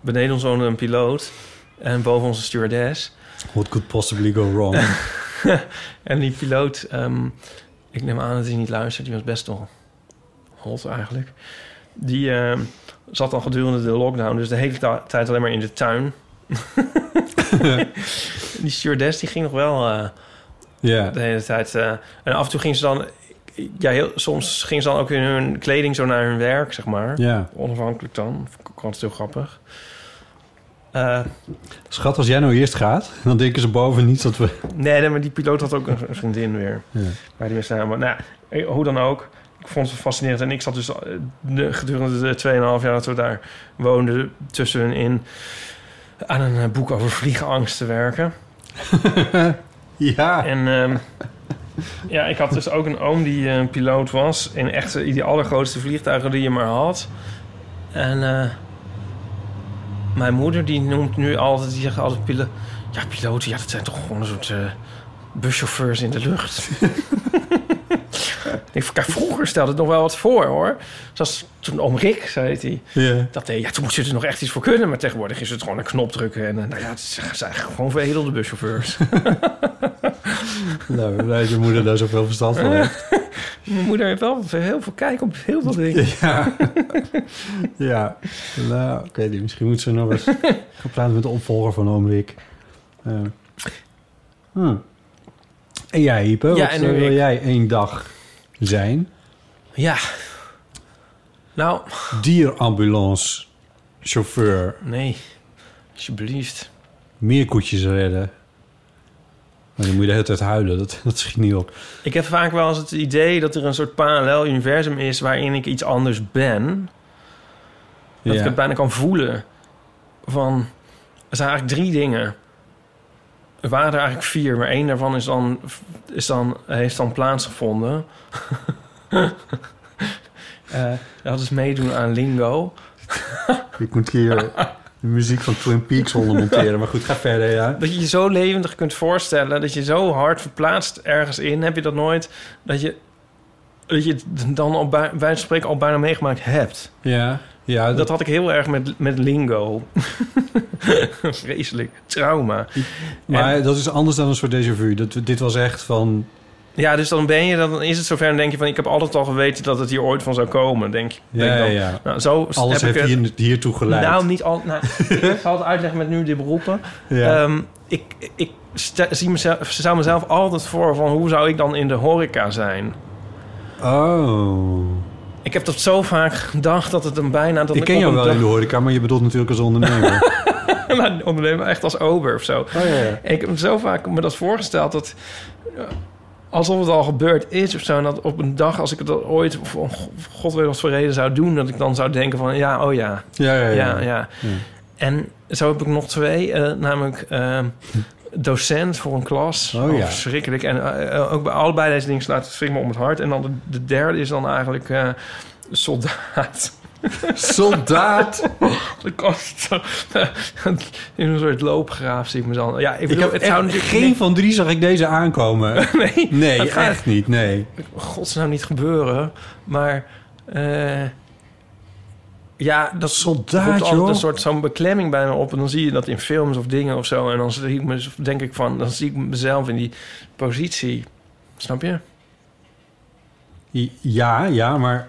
[SPEAKER 3] Beneden ons woonde een piloot en boven ons een stewardess.
[SPEAKER 2] What could possibly go wrong?
[SPEAKER 3] en die piloot, ehm, ik neem aan dat hij niet luistert, die was best wel hot eigenlijk. Die ehm, zat al gedurende de lockdown, dus de hele ta- tijd alleen maar in de tuin. die stewardess die ging nog wel eh,
[SPEAKER 2] Ja.
[SPEAKER 3] de hele tijd. eh, en af en toe ging ze dan, ja, heel, soms ging ze dan ook in hun kleding zo naar hun werk, zeg maar.
[SPEAKER 2] Ja.
[SPEAKER 3] Onafhankelijk dan. Vond ik altijd heel grappig. Eh,
[SPEAKER 2] Schat, als jij nou eerst gaat, dan denken ze boven niet dat we...
[SPEAKER 3] Nee, nee, maar die piloot had ook een een vriendin weer.
[SPEAKER 2] Ja.
[SPEAKER 3] Waar die mee samen. Nou, eh, hoe dan ook. Ik vond ze fascinerend. En ik zat dus eh, de- gedurende de 2,5 jaar dat we daar woonden, tussenin aan een eh, boek over vliegenangst te werken.
[SPEAKER 2] ja.
[SPEAKER 3] En ehm, ja, ik had dus ook een oom die eh, piloot was. In echt eh, die allergrootste vliegtuigen die je maar had. En eh, mijn moeder die noemt nu altijd, die zegt altijd pilo ja, piloten, ja, dat zijn toch gewoon een soort eh, buschauffeurs in de lucht. ik, vond- kijk, vroeger stelde het nog wel wat voor, hoor. Zoals toen oom Rick, zo heet hij.
[SPEAKER 2] Ja.
[SPEAKER 3] Dat, deed- ja, toen moest je er nog echt iets voor kunnen. Maar tegenwoordig is het gewoon een knop drukken. En eh, nou ja, het zijn- zijn gewoon veredelde buschauffeurs.
[SPEAKER 2] Nou, blij dat je moeder daar zoveel verstand van heeft.
[SPEAKER 3] Mijn moeder heeft wel heel veel kijk op heel veel dingen.
[SPEAKER 2] Ja. Ja. Nou, ik weet niet. Misschien moet ze nog eens gaan praten met de opvolger van oom Rick. Eh. Hm. En jij, Ipe,
[SPEAKER 3] Ja,
[SPEAKER 2] wat
[SPEAKER 3] en
[SPEAKER 2] eh,
[SPEAKER 3] nu
[SPEAKER 2] wil
[SPEAKER 3] ik.
[SPEAKER 2] jij één dag zijn?
[SPEAKER 3] Ja. Nou,
[SPEAKER 2] Dierambulance, chauffeur,
[SPEAKER 3] nee. Alsjeblieft.
[SPEAKER 2] meer koetjes redden. Maar dan moet je de hele tijd huilen, dat, dat schiet niet op.
[SPEAKER 3] Ik heb vaak wel eens het idee dat er een soort parallel universum is... waarin ik iets anders ben. Dat
[SPEAKER 2] Ja.
[SPEAKER 3] ik het bijna kan voelen. Van, er zijn eigenlijk drie dingen. Er waren er eigenlijk vier, maar één daarvan is dan, is dan, heeft dan plaatsgevonden. Eh dat is meedoen aan Lingo.
[SPEAKER 2] Ik moet hier de muziek van Twin Peaks ondermonteren. Maar goed, ga verder, ja.
[SPEAKER 3] Dat je je zo levendig kunt voorstellen, dat je zo hard verplaatst ergens in, heb je dat nooit, dat je, dat je het dan al bij, bij wijze van spreken al bijna meegemaakt hebt.
[SPEAKER 2] Ja, ja
[SPEAKER 3] Dat had ik heel erg met, met lingo. Vreselijk. Trauma.
[SPEAKER 2] maar dat is anders dan een soort déjà vu. Dat, dit was echt van...
[SPEAKER 3] Ja, dus dan ben je, dan is het zover en denk je van... ik heb altijd al geweten dat het hier ooit van zou komen, denk je.
[SPEAKER 2] Ja,
[SPEAKER 3] denk
[SPEAKER 2] ja,
[SPEAKER 3] dan,
[SPEAKER 2] ja.
[SPEAKER 3] Nou, zo
[SPEAKER 2] Alles
[SPEAKER 3] heb
[SPEAKER 2] heeft
[SPEAKER 3] ik het-
[SPEAKER 2] hier, hiertoe geleid.
[SPEAKER 3] Nou, niet al. Nou, ik zal het uitleggen met nu de beroepen.
[SPEAKER 2] Ja.
[SPEAKER 3] Ehm, ik ik sta- zie mezelf, stel mezelf altijd voor van hoe zou ik dan in de horeca zijn?
[SPEAKER 2] eh, Oh.
[SPEAKER 3] Ik heb dat zo vaak gedacht dat het een bijna... Dat
[SPEAKER 2] ik ken
[SPEAKER 3] op
[SPEAKER 2] jou
[SPEAKER 3] een
[SPEAKER 2] wel
[SPEAKER 3] dag-
[SPEAKER 2] in de horeca, maar je bedoelt natuurlijk als ondernemer.
[SPEAKER 3] maar ondernemen echt als ober of zo.
[SPEAKER 2] ja.
[SPEAKER 3] Ik heb me zo vaak me dat voorgesteld dat eh, alsof het al gebeurd is of zo. En dat op een dag als ik het al ooit of om god weet wat voor reden zou doen, dat ik dan zou denken van ja, oh ja.
[SPEAKER 2] Ja, ja,
[SPEAKER 3] ja.
[SPEAKER 2] ja. Ja.
[SPEAKER 3] En zo heb ik nog twee, eh, namelijk eh, docent voor een klas.
[SPEAKER 2] Oh, ja.
[SPEAKER 3] Verschrikkelijk. En eh, eh, ook bij allebei deze dingen slaat het schrik me om het hart. En dan de, de derde is dan eigenlijk eh, soldaat.
[SPEAKER 2] Soldaat?
[SPEAKER 3] De kast. zo- In een soort loopgraaf zie ik me dan. Ja, ik, bedoel,
[SPEAKER 2] ik heb
[SPEAKER 3] het
[SPEAKER 2] echt
[SPEAKER 3] zou natuurlijk
[SPEAKER 2] geen van drie zag ik deze aankomen.
[SPEAKER 3] Nee,
[SPEAKER 2] nee
[SPEAKER 3] dat gaat-
[SPEAKER 2] echt niet. Nee.
[SPEAKER 3] godsnaam niet gebeuren. Maar eh, ja, dat
[SPEAKER 2] Soldaat,
[SPEAKER 3] roept altijd
[SPEAKER 2] joh.
[SPEAKER 3] een soort zo'n beklemming bij me op. En dan zie je dat in films of dingen of zo. En dan zie ik me, denk ik van, dan zie ik mezelf in die positie. Snap je?
[SPEAKER 2] I- Ja, ja, maar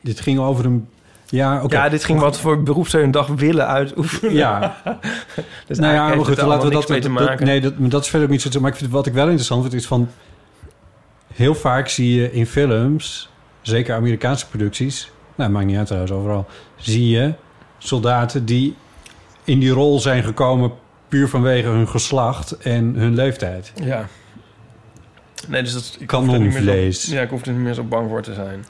[SPEAKER 2] dit ging over een... Ja, oké.
[SPEAKER 3] Ja, dit ging wat voor beroep zou je een dag willen uitoefenen.
[SPEAKER 2] Ja.
[SPEAKER 3] dus
[SPEAKER 2] nou
[SPEAKER 3] eigenlijk
[SPEAKER 2] ja, maar
[SPEAKER 3] heeft
[SPEAKER 2] goed,
[SPEAKER 3] het
[SPEAKER 2] laten we
[SPEAKER 3] allemaal niks
[SPEAKER 2] dat,
[SPEAKER 3] mee te
[SPEAKER 2] dat-
[SPEAKER 3] maken.
[SPEAKER 2] nee, dat, maar dat is verder ook niet zo. Maar ik vind, wat ik wel interessant vind, is van... Heel vaak zie je in films, zeker Amerikaanse producties... Nou, maakt niet uit trouwens, overal... Zie je soldaten die in die rol zijn gekomen... puur vanwege hun geslacht en hun leeftijd.
[SPEAKER 3] Ja. Nee, dus dat, ik hoef er niet meer zo-
[SPEAKER 2] Kanonvlees.
[SPEAKER 3] Ja, ik hoef er niet meer zo bang voor te zijn.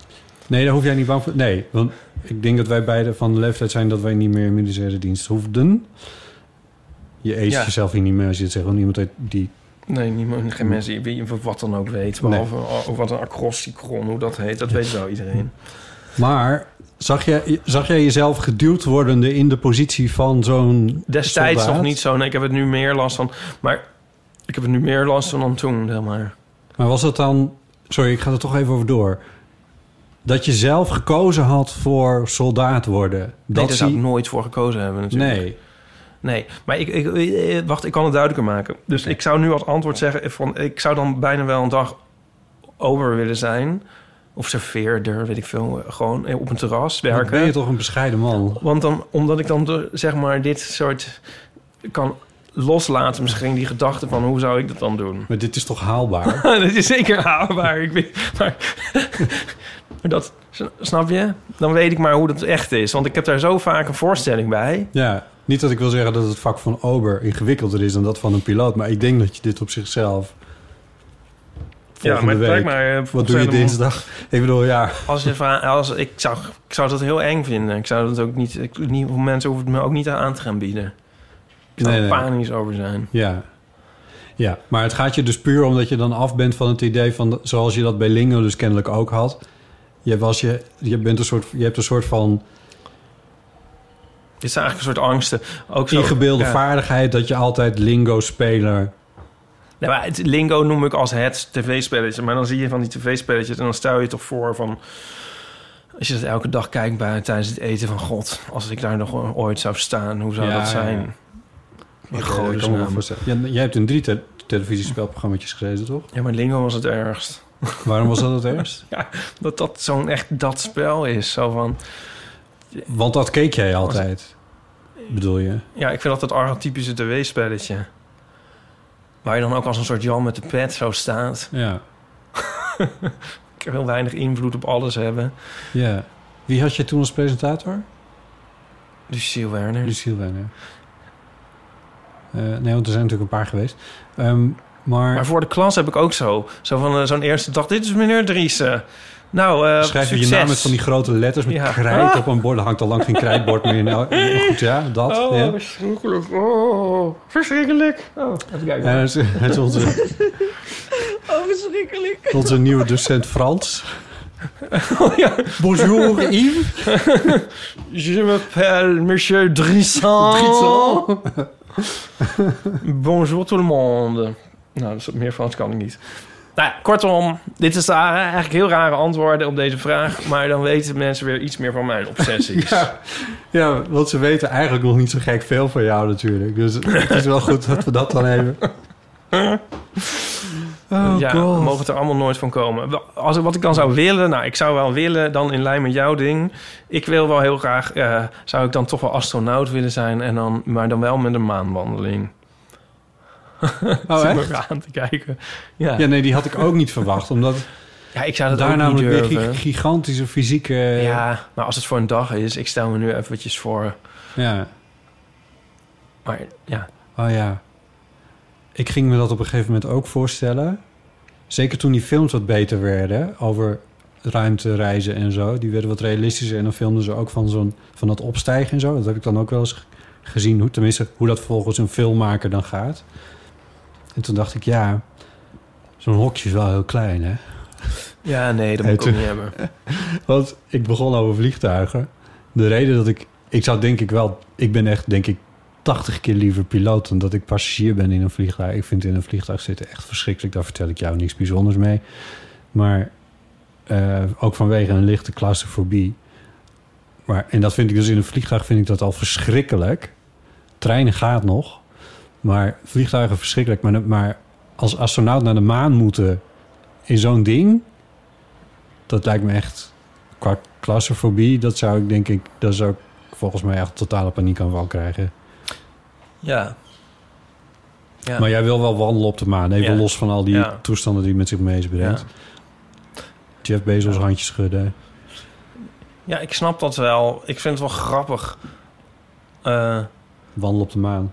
[SPEAKER 2] Nee, daar hoef jij niet bang voor. Nee, want ik denk dat wij beide van de leeftijd zijn dat wij niet meer in militaire dienst hoefden. Je eet
[SPEAKER 3] Ja.
[SPEAKER 2] jezelf hier niet meer als je het zegt. Want niemand heeft die.
[SPEAKER 3] Nee, niemand,
[SPEAKER 2] Mm.
[SPEAKER 3] geen mensen die wat dan ook weet. Behalve oh, wat een acrosticron, hoe dat heet. Dat weet wel iedereen.
[SPEAKER 2] Maar zag jij, zag jij jezelf geduwd wordende in de positie van zo'n.
[SPEAKER 3] Destijds
[SPEAKER 2] soldaat?
[SPEAKER 3] nog niet zo. Nee, ik heb het nu meer last van. Maar ik heb het nu meer last van dan toen, zeg maar.
[SPEAKER 2] Maar was dat dan. Sorry, ik ga er toch even over door. Dat je zelf gekozen had voor soldaat worden.
[SPEAKER 3] Dat nee, daar zou
[SPEAKER 2] zie-
[SPEAKER 3] ik nooit voor gekozen hebben natuurlijk.
[SPEAKER 2] Nee.
[SPEAKER 3] Nee, maar ik, ik, eh, wacht, ik kan het duidelijker maken. Dus ik zou nu als antwoord zeggen... eh, Van, ik zou dan bijna wel een dag over willen zijn... Of serveerder, weet ik veel. Gewoon eh, op een terras
[SPEAKER 2] Dan
[SPEAKER 3] werken.
[SPEAKER 2] ben je toch een bescheiden man.
[SPEAKER 3] Want dan, omdat ik dan de- zeg maar dit soort kan loslaten, misschien die gedachte van hoe zou ik dat dan doen?
[SPEAKER 2] Maar dit is toch haalbaar?
[SPEAKER 3] dat is zeker haalbaar. Ik weet, maar, maar dat snap je? Dan weet ik maar hoe dat echt is. Want ik heb daar zo vaak een voorstelling bij.
[SPEAKER 2] Ja, niet dat ik wil zeggen dat het vak van ober ingewikkelder is dan dat van een piloot, maar ik denk dat je dit op zichzelf. Volgende
[SPEAKER 3] maar het
[SPEAKER 2] week.
[SPEAKER 3] lijkt mij, eh,
[SPEAKER 2] Wat doe je
[SPEAKER 3] ontzettend-
[SPEAKER 2] dinsdag? Ik bedoel, ja.
[SPEAKER 3] Als je vraagt, als, ik, zou, ik zou dat heel eng vinden. Ik zou dat ook niet, ik, niet mensen hoeven het me ook niet aan te gaan bieden. Ik zou
[SPEAKER 2] Nee,
[SPEAKER 3] er
[SPEAKER 2] nee.
[SPEAKER 3] panisch over zijn.
[SPEAKER 2] Ja. Ja, maar het gaat je dus puur omdat je dan af bent van het idee van, zoals je dat bij Lingo dus kennelijk ook had. Je, was je, je, bent een soort, je hebt een soort van
[SPEAKER 3] Dit zijn eigenlijk een soort angsten. Ook zo,
[SPEAKER 2] ingebeelde
[SPEAKER 3] ja.
[SPEAKER 2] vaardigheid dat je altijd Lingo-speler.
[SPEAKER 3] Nee, maar het lingo noem ik als het tv-spelletje. Maar dan zie je van die tv-spelletjes en dan stel je toch voor van... Als je dat elke dag kijkt bij, tijdens het eten van God... als ik daar nog eh, ooit zou staan, hoe zou
[SPEAKER 2] Ja,
[SPEAKER 3] dat
[SPEAKER 2] ja.
[SPEAKER 3] zijn?
[SPEAKER 2] Ja,
[SPEAKER 3] In
[SPEAKER 2] dat kan ik me wel
[SPEAKER 3] godesnaam.
[SPEAKER 2] voorstellen. Ja, jij hebt in drie te televisiespelprogramma's gezeten, toch?
[SPEAKER 3] Ja, maar lingo was het ergst.
[SPEAKER 2] Waarom was dat het eerst?
[SPEAKER 3] Ja, dat dat zo'n echt dat spel is. Zo van...
[SPEAKER 2] Want dat keek jij altijd, bedoel je?
[SPEAKER 3] Ja, ik vind dat het archetypische tv-spelletje. Waar je dan ook als een soort Jan met de pet zo staat.
[SPEAKER 2] Ja.
[SPEAKER 3] ik wil weinig invloed op alles hebben.
[SPEAKER 2] Ja. Wie had je toen als presentator?
[SPEAKER 3] Lucille Werner.
[SPEAKER 2] Lucille Werner. Eh, nee, want er zijn natuurlijk een paar geweest. Ehm, maar,
[SPEAKER 3] Maar voor de klas heb ik ook zo. Zo van eh, zo'n eerste dag. Dit is meneer Driessen. Nou, eh,
[SPEAKER 2] Schrijf je je
[SPEAKER 3] succes.
[SPEAKER 2] naam met van die grote letters met
[SPEAKER 3] Ja.
[SPEAKER 2] krijt
[SPEAKER 3] Ah.
[SPEAKER 2] op een bord. Er hangt al lang geen krijtbord meer. Nou, goed, ja, dat.
[SPEAKER 3] Oh,
[SPEAKER 2] ja.
[SPEAKER 3] verschrikkelijk. Oh, verschrikkelijk. Oh, even kijken.
[SPEAKER 2] Ja, dat is- dat is onze,
[SPEAKER 8] Oh, verschrikkelijk.
[SPEAKER 2] onze nieuwe docent Frans. Bonjour Yves.
[SPEAKER 3] Je m'appelle Monsieur Drissan.
[SPEAKER 8] Drissan.
[SPEAKER 3] Bonjour tout le monde. Nou, dat is meer Frans kan ik niet. Nou, ja, kortom, dit is de ra- eigenlijk heel rare antwoorden op deze vraag. Maar dan weten mensen weer iets meer van mijn obsessies.
[SPEAKER 2] Ja. Ja, want ze weten eigenlijk nog niet zo gek veel van jou natuurlijk. Dus het is wel goed dat we dat dan even... Oh,
[SPEAKER 3] ja,
[SPEAKER 2] God.
[SPEAKER 3] we mogen het er allemaal nooit van komen. Wel, Als, wat ik dan zou willen, nou, ik zou wel willen, dan in lijn met jouw ding. Ik wil wel heel graag, eh, zou ik dan toch wel astronaut willen zijn, en dan, maar dan wel met een maanwandeling.
[SPEAKER 2] Oh,
[SPEAKER 3] Zit me
[SPEAKER 2] echt?
[SPEAKER 3] aan te kijken.
[SPEAKER 2] Ja. nee, die had ik ook niet verwacht. Omdat
[SPEAKER 3] Ja, ik zou dat
[SPEAKER 2] daar
[SPEAKER 3] ook niet
[SPEAKER 2] namelijk weer
[SPEAKER 3] durven.
[SPEAKER 2] gi- gigantische fysieke...
[SPEAKER 3] Ja, maar als het voor een dag is, ik stel me nu eventjes voor.
[SPEAKER 2] Ja.
[SPEAKER 3] Maar ja,
[SPEAKER 2] Oh ja. Ik ging me dat op een gegeven moment ook voorstellen. Zeker toen die films wat beter werden over ruimtereizen en zo. Die werden wat realistischer en dan filmden ze ook van, zo'n, van dat opstijgen en zo. Dat heb ik dan ook wel eens g- gezien. Hoe, tenminste, hoe dat volgens een filmmaker dan gaat. En toen dacht ik, ja, zo'n hokje is wel heel klein, hè?
[SPEAKER 3] ja nee, dat
[SPEAKER 2] Hey,
[SPEAKER 3] moet ik ook
[SPEAKER 2] toen-
[SPEAKER 3] niet hebben.
[SPEAKER 2] Want ik begon over vliegtuigen. De reden dat ik... Ik zou denk ik wel... Ik ben echt, denk ik, 80 keer liever piloot... dan dat ik passagier ben in een vliegtuig. Ik vind in een vliegtuig zitten echt verschrikkelijk. Daar vertel ik jou niks bijzonders mee. Maar eh, ook vanwege een lichte claustrofobie. Maar, en dat vind ik dus in een vliegtuig vind ik dat al verschrikkelijk. Treinen gaat nog. Maar vliegtuigen verschrikkelijk. Maar, maar als astronaut naar de maan moeten in zo'n ding... dat lijkt me echt... qua claustrofobie, dat zou ik denk ik... dat zou ik volgens mij echt totale paniekaanval krijgen.
[SPEAKER 3] Ja. ja.
[SPEAKER 2] Maar jij wil wel wandelen op de maan. Even
[SPEAKER 3] Ja.
[SPEAKER 2] los van al die
[SPEAKER 3] Ja.
[SPEAKER 2] toestanden die het met zich mee is brengt. Jeff Bezos handjes schudden.
[SPEAKER 3] ja, ik snap dat wel. Ik vind het wel grappig. Eh
[SPEAKER 2] Wandelen op de maan.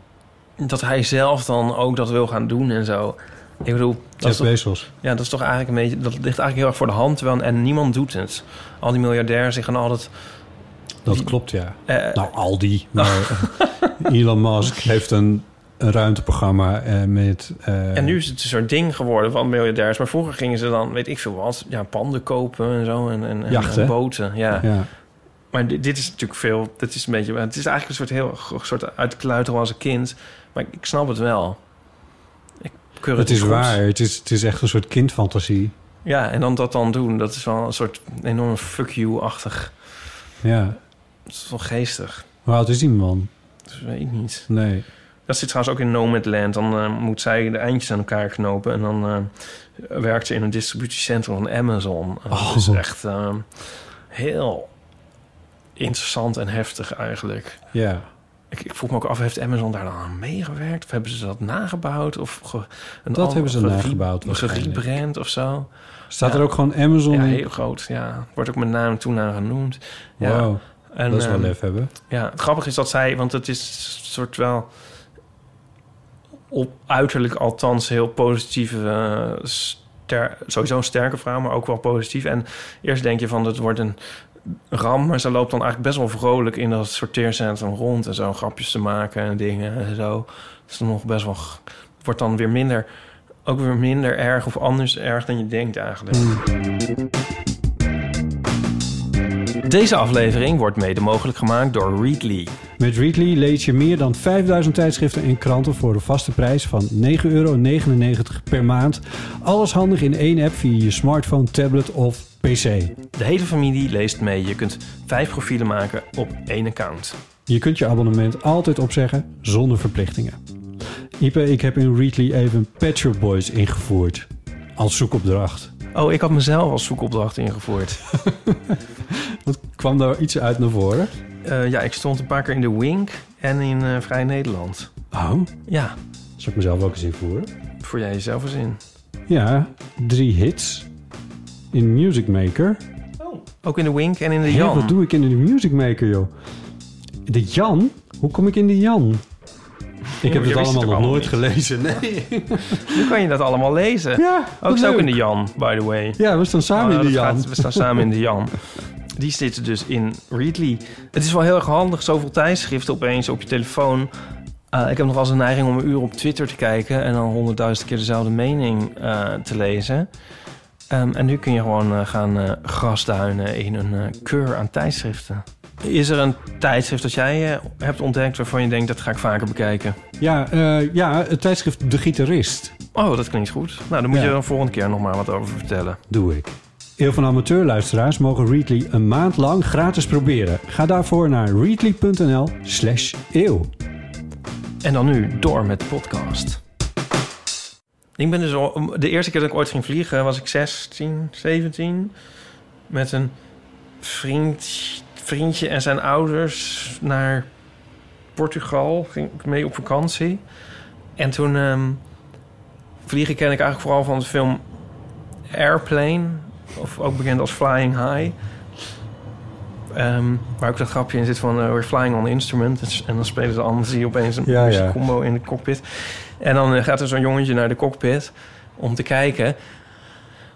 [SPEAKER 3] dat hij zelf dan ook dat wil gaan doen en zo. Ik bedoel, dat
[SPEAKER 2] Jeff
[SPEAKER 3] is toch-
[SPEAKER 2] Bezos.
[SPEAKER 3] Ja, dat is toch eigenlijk een beetje. Dat ligt eigenlijk heel erg voor de hand. Terwijl, en niemand doet het. Al die miljardairs zeggen altijd.
[SPEAKER 2] Dat klopt, ja.
[SPEAKER 3] Eh,
[SPEAKER 2] nou, Aldi. Maar eh, Elon Musk heeft een, een ruimteprogramma eh, met... eh,
[SPEAKER 3] En nu is het een soort ding geworden van miljardairs. Maar vroeger gingen ze dan, weet ik veel wat, ja, panden kopen en zo. En, en, en-
[SPEAKER 2] Jachten.
[SPEAKER 3] en boten. Ja.
[SPEAKER 2] Ja.
[SPEAKER 3] Maar dit, dit is natuurlijk veel. Dit is een beetje. Het is eigenlijk een soort heel een soort uit de kluiter als een kind. Maar ik, ik snap het wel. Ik keur
[SPEAKER 2] Het is
[SPEAKER 3] goed.
[SPEAKER 2] waar. Het is, het is echt een soort kindfantasie.
[SPEAKER 3] Ja, en dan dat dan doen, dat is wel een soort enorm fuck you-achtig.
[SPEAKER 2] Ja.
[SPEAKER 3] Dat is wel geestig.
[SPEAKER 2] Hoe oud is die man?
[SPEAKER 3] Dat weet ik niet.
[SPEAKER 2] Nee.
[SPEAKER 3] Dat zit trouwens ook in Nomadland. Dan eh, moet zij de eindjes aan elkaar knopen. En dan eh, werkt ze in een distributiecentrum van Amazon. En Dat is echt eh, heel interessant en heftig eigenlijk.
[SPEAKER 2] Ja.
[SPEAKER 3] Ik, ik vroeg me ook af, heeft Amazon daar dan aan meegewerkt? Of hebben ze dat nagebouwd? Of ge- een
[SPEAKER 2] Dat hebben ze
[SPEAKER 3] gere-
[SPEAKER 2] nagebouwd waarschijnlijk.
[SPEAKER 3] Gerebrand of zo?
[SPEAKER 2] Staat
[SPEAKER 3] Ja.
[SPEAKER 2] er ook gewoon Amazon
[SPEAKER 3] Ja,
[SPEAKER 2] in?
[SPEAKER 3] heel groot. Ja, wordt ook met naam en toenaam genoemd. Ja.
[SPEAKER 2] Wauw, dat is wel
[SPEAKER 3] ehm,
[SPEAKER 2] lef hebben.
[SPEAKER 3] Ja, het grappige is dat zij, want het is een soort wel op uiterlijk althans heel positieve, eh, ster- sowieso een sterke vrouw, maar ook wel positief. En eerst denk je van, het wordt een ram, maar ze loopt dan eigenlijk best wel vrolijk in dat sorteercentrum rond en zo grapjes te maken en dingen en zo. Het is nog best wel, g- wordt dan weer minder, ook weer minder erg of anders erg dan je denkt eigenlijk. Deze aflevering wordt mede mogelijk gemaakt door Readly.
[SPEAKER 2] Met Readly lees je meer dan 5000 tijdschriften en kranten voor de vaste prijs van 9,99 euro per maand. Alles handig in één app via je smartphone, tablet of pc.
[SPEAKER 3] De hele familie leest mee. Je kunt vijf profielen maken op één account.
[SPEAKER 2] Je kunt je abonnement altijd opzeggen zonder verplichtingen. Ipe, ik heb in Readly even Pet Shop Boys ingevoerd als zoekopdracht.
[SPEAKER 3] Oh, ik had mezelf als zoekopdracht ingevoerd.
[SPEAKER 2] Kwam daar iets uit naar voren?
[SPEAKER 3] Eh, ja, ik stond een paar keer in de Wink en in eh, Vrij Nederland.
[SPEAKER 2] Oh,
[SPEAKER 3] Ja,
[SPEAKER 2] zal ik mezelf ook eens invoeren?
[SPEAKER 3] voor jij jezelf eens in.
[SPEAKER 2] Ja, drie hits in Music Maker.
[SPEAKER 3] Ook in de Wink en in de
[SPEAKER 2] Hé,
[SPEAKER 3] Jan.
[SPEAKER 2] wat doe ik in de Music Maker, joh? De Jan? Hoe kom ik in de Jan? Ik heb
[SPEAKER 3] je wist
[SPEAKER 2] het allemaal
[SPEAKER 3] ook
[SPEAKER 2] nog nooit
[SPEAKER 3] niet.
[SPEAKER 2] gelezen, nee.
[SPEAKER 3] Nu kan je dat allemaal lezen.
[SPEAKER 2] Ja, wat
[SPEAKER 3] ook zo ook
[SPEAKER 2] leuk.
[SPEAKER 3] in de Jan, by the way.
[SPEAKER 2] Ja, we staan samen
[SPEAKER 3] Oh,
[SPEAKER 2] in de
[SPEAKER 3] dat
[SPEAKER 2] Jan.
[SPEAKER 3] gaat- we staan samen in de Jan. Die zitten dus in Readly. Het is wel heel erg handig, zoveel tijdschriften opeens op je telefoon. Eh, ik heb nog wel eens een neiging om een uur op Twitter te kijken... en dan honderdduizend keer dezelfde mening eh, te lezen. Ehm, en nu kun je gewoon eh, gaan eh, grasduinen in een eh, keur aan tijdschriften. Is er een tijdschrift dat jij eh, hebt ontdekt waarvan je denkt... dat ga ik vaker bekijken?
[SPEAKER 2] Ja, eh, ja, het tijdschrift De Gitarist.
[SPEAKER 3] Oh, dat klinkt goed. Nou, dan moet
[SPEAKER 2] Ja.
[SPEAKER 3] je er een volgende keer nog maar wat over vertellen.
[SPEAKER 2] Doe ik. Heel van amateurluisteraars mogen Readly een maand lang gratis proberen. Ga daarvoor naar readly.nl slash eeuw.
[SPEAKER 3] En dan nu door met de podcast. Ik ben dus al, de eerste keer dat ik ooit ging vliegen was ik 16, 17. Met een vriend, vriendje en zijn ouders naar Portugal. Ging ik mee op vakantie. En toen ehm, vliegen ken ik eigenlijk vooral van de film Airplane. Of ook bekend als Flying High. Ehm, waar ook dat grapje in zit van eh, we're flying on the instrument. Dus- En dan spelen ze anders zie je opeens een
[SPEAKER 2] Ja,
[SPEAKER 3] muziek-
[SPEAKER 2] ja.
[SPEAKER 3] combo in de cockpit. En dan eh, gaat er zo'n jongetje naar de cockpit om te kijken.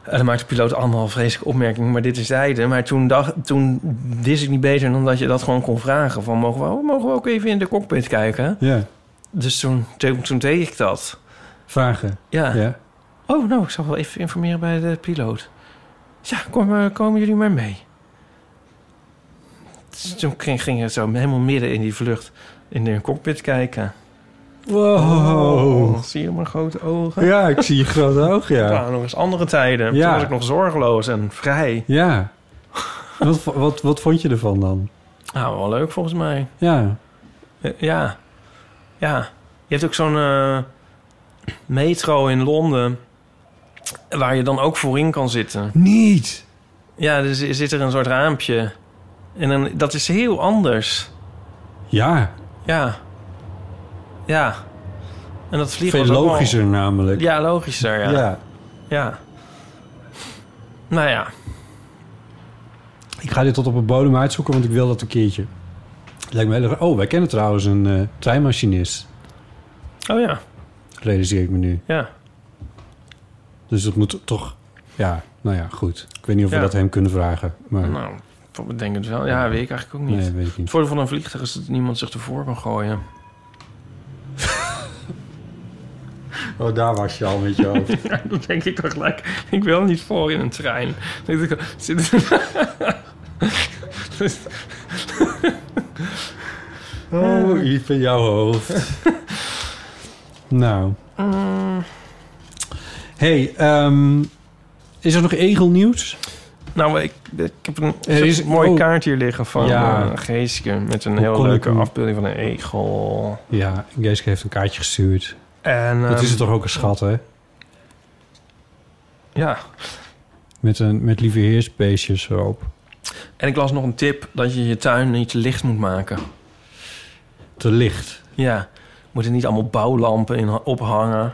[SPEAKER 3] En dan maakt de piloot allemaal vreselijke opmerkingen, maar dit is zijde. Maar toen, dacht, toen wist ik niet beter dan dat je dat gewoon kon vragen. Van, mogen we, oh, mogen we ook even in de cockpit kijken?
[SPEAKER 2] Ja,
[SPEAKER 3] Dus toen, toen, toen deed ik dat.
[SPEAKER 2] vragen.
[SPEAKER 3] Ja.
[SPEAKER 2] Ja.
[SPEAKER 3] Oh, nou, ik zal wel even informeren bij de piloot. Ja, kom, eh, komen jullie maar mee. Dus Toen ging, ging het zo helemaal midden in die vlucht in de cockpit kijken.
[SPEAKER 2] Wow.
[SPEAKER 3] Oh, zie je mijn grote ogen?
[SPEAKER 2] Ja, ik zie je grote oog, ja.
[SPEAKER 3] Dat waren nog eens andere tijden.
[SPEAKER 2] Ja.
[SPEAKER 3] Toen was ik nog zorgeloos en vrij.
[SPEAKER 2] Ja. Wat, vo- wat, wat vond je ervan dan?
[SPEAKER 3] Nou, wel leuk volgens mij.
[SPEAKER 2] Ja.
[SPEAKER 3] Eh, Ja. Ja. Je hebt ook zo'n eh, metro in Londen... waar je dan ook voorin kan zitten.
[SPEAKER 2] Niet!
[SPEAKER 3] Ja, dus er zit er een soort raampje. En dan, dat is heel anders.
[SPEAKER 2] Ja,
[SPEAKER 3] Ja. Ja. En dat vliegen
[SPEAKER 2] veel
[SPEAKER 3] was ook wel-
[SPEAKER 2] logischer namelijk.
[SPEAKER 3] Ja, logischer, ja.
[SPEAKER 2] Ja.
[SPEAKER 3] Ja. Nou ja.
[SPEAKER 2] Ik ga dit tot op de bodem uitzoeken, want ik wil dat een keertje. Lijkt me heel erg... Oh, wij kennen trouwens een eh, treinmachinist,
[SPEAKER 3] Oh ja.
[SPEAKER 2] realiseer ik me nu.
[SPEAKER 3] Ja.
[SPEAKER 2] Dus dat moet toch... Ja, nou ja, goed. Ik weet niet of
[SPEAKER 3] Ja.
[SPEAKER 2] we dat hem kunnen vragen. Maar...
[SPEAKER 3] Nou, ik denk het wel. Ja, weet ik eigenlijk ook niet.
[SPEAKER 2] Nee, weet ik niet.
[SPEAKER 3] Het voordeel van een vliegtuig is dat niemand zich ervoor kan gooien.
[SPEAKER 2] Oh, daar was je al met je hoofd.
[SPEAKER 3] Ja, dan denk ik toch gelijk, ik wil niet voor in een trein. Dan denk ik, zit- Dus-
[SPEAKER 2] Oh, Yves, in jouw hoofd. nou.
[SPEAKER 3] Mm.
[SPEAKER 2] hey, ehm, is er nog egelnieuws?
[SPEAKER 3] nou, ik, ik heb een
[SPEAKER 2] Er is-
[SPEAKER 3] mooi
[SPEAKER 2] oh.
[SPEAKER 3] kaart hier liggen van
[SPEAKER 2] Ja.
[SPEAKER 3] ja. Geeske... met een
[SPEAKER 2] Hoe
[SPEAKER 3] heel
[SPEAKER 2] kon ik
[SPEAKER 3] leuke
[SPEAKER 2] hem-
[SPEAKER 3] afbeelding van een egel.
[SPEAKER 2] Ja, Geeske heeft een kaartje gestuurd.
[SPEAKER 3] En,
[SPEAKER 2] dat
[SPEAKER 3] ehm,
[SPEAKER 2] is het toch ook een schat, hè?
[SPEAKER 3] Ja,
[SPEAKER 2] Met, een, met lieve heersbeestjes erop.
[SPEAKER 3] en ik las nog een tip dat je je tuin niet te licht moet maken.
[SPEAKER 2] Te licht.
[SPEAKER 3] Ja, moeten niet allemaal bouwlampen in ophangen.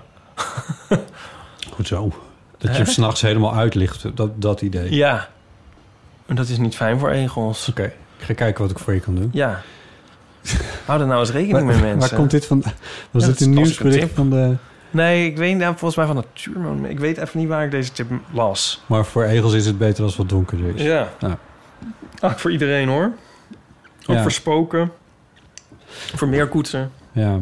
[SPEAKER 2] Goed zo. Dat je
[SPEAKER 3] Hè?
[SPEAKER 2] hem s'nachts helemaal uitlicht. Dat, dat idee.
[SPEAKER 3] Ja, en dat is niet fijn voor egels.
[SPEAKER 2] Oké. Ik ga kijken wat ik voor je kan doen.
[SPEAKER 3] Ja. Hou er nou eens rekening mee,
[SPEAKER 2] waar,
[SPEAKER 3] mensen.
[SPEAKER 2] Waar komt dit vandaan? Was
[SPEAKER 3] Ja,
[SPEAKER 2] dit
[SPEAKER 3] dat
[SPEAKER 2] een
[SPEAKER 3] is
[SPEAKER 2] nieuwsbericht
[SPEAKER 3] tip.
[SPEAKER 2] van de...
[SPEAKER 3] Nee, ik weet nou, volgens mij van Natuurmoment. Ik weet even niet waar ik deze tip las.
[SPEAKER 2] Maar voor egels is het beter als het wat donkerder is.
[SPEAKER 3] Ja.
[SPEAKER 2] Nou,
[SPEAKER 3] Ach, voor iedereen hoor. Ook
[SPEAKER 2] Ja.
[SPEAKER 3] voor spoken. Voor meerkoetsen.
[SPEAKER 2] Ja.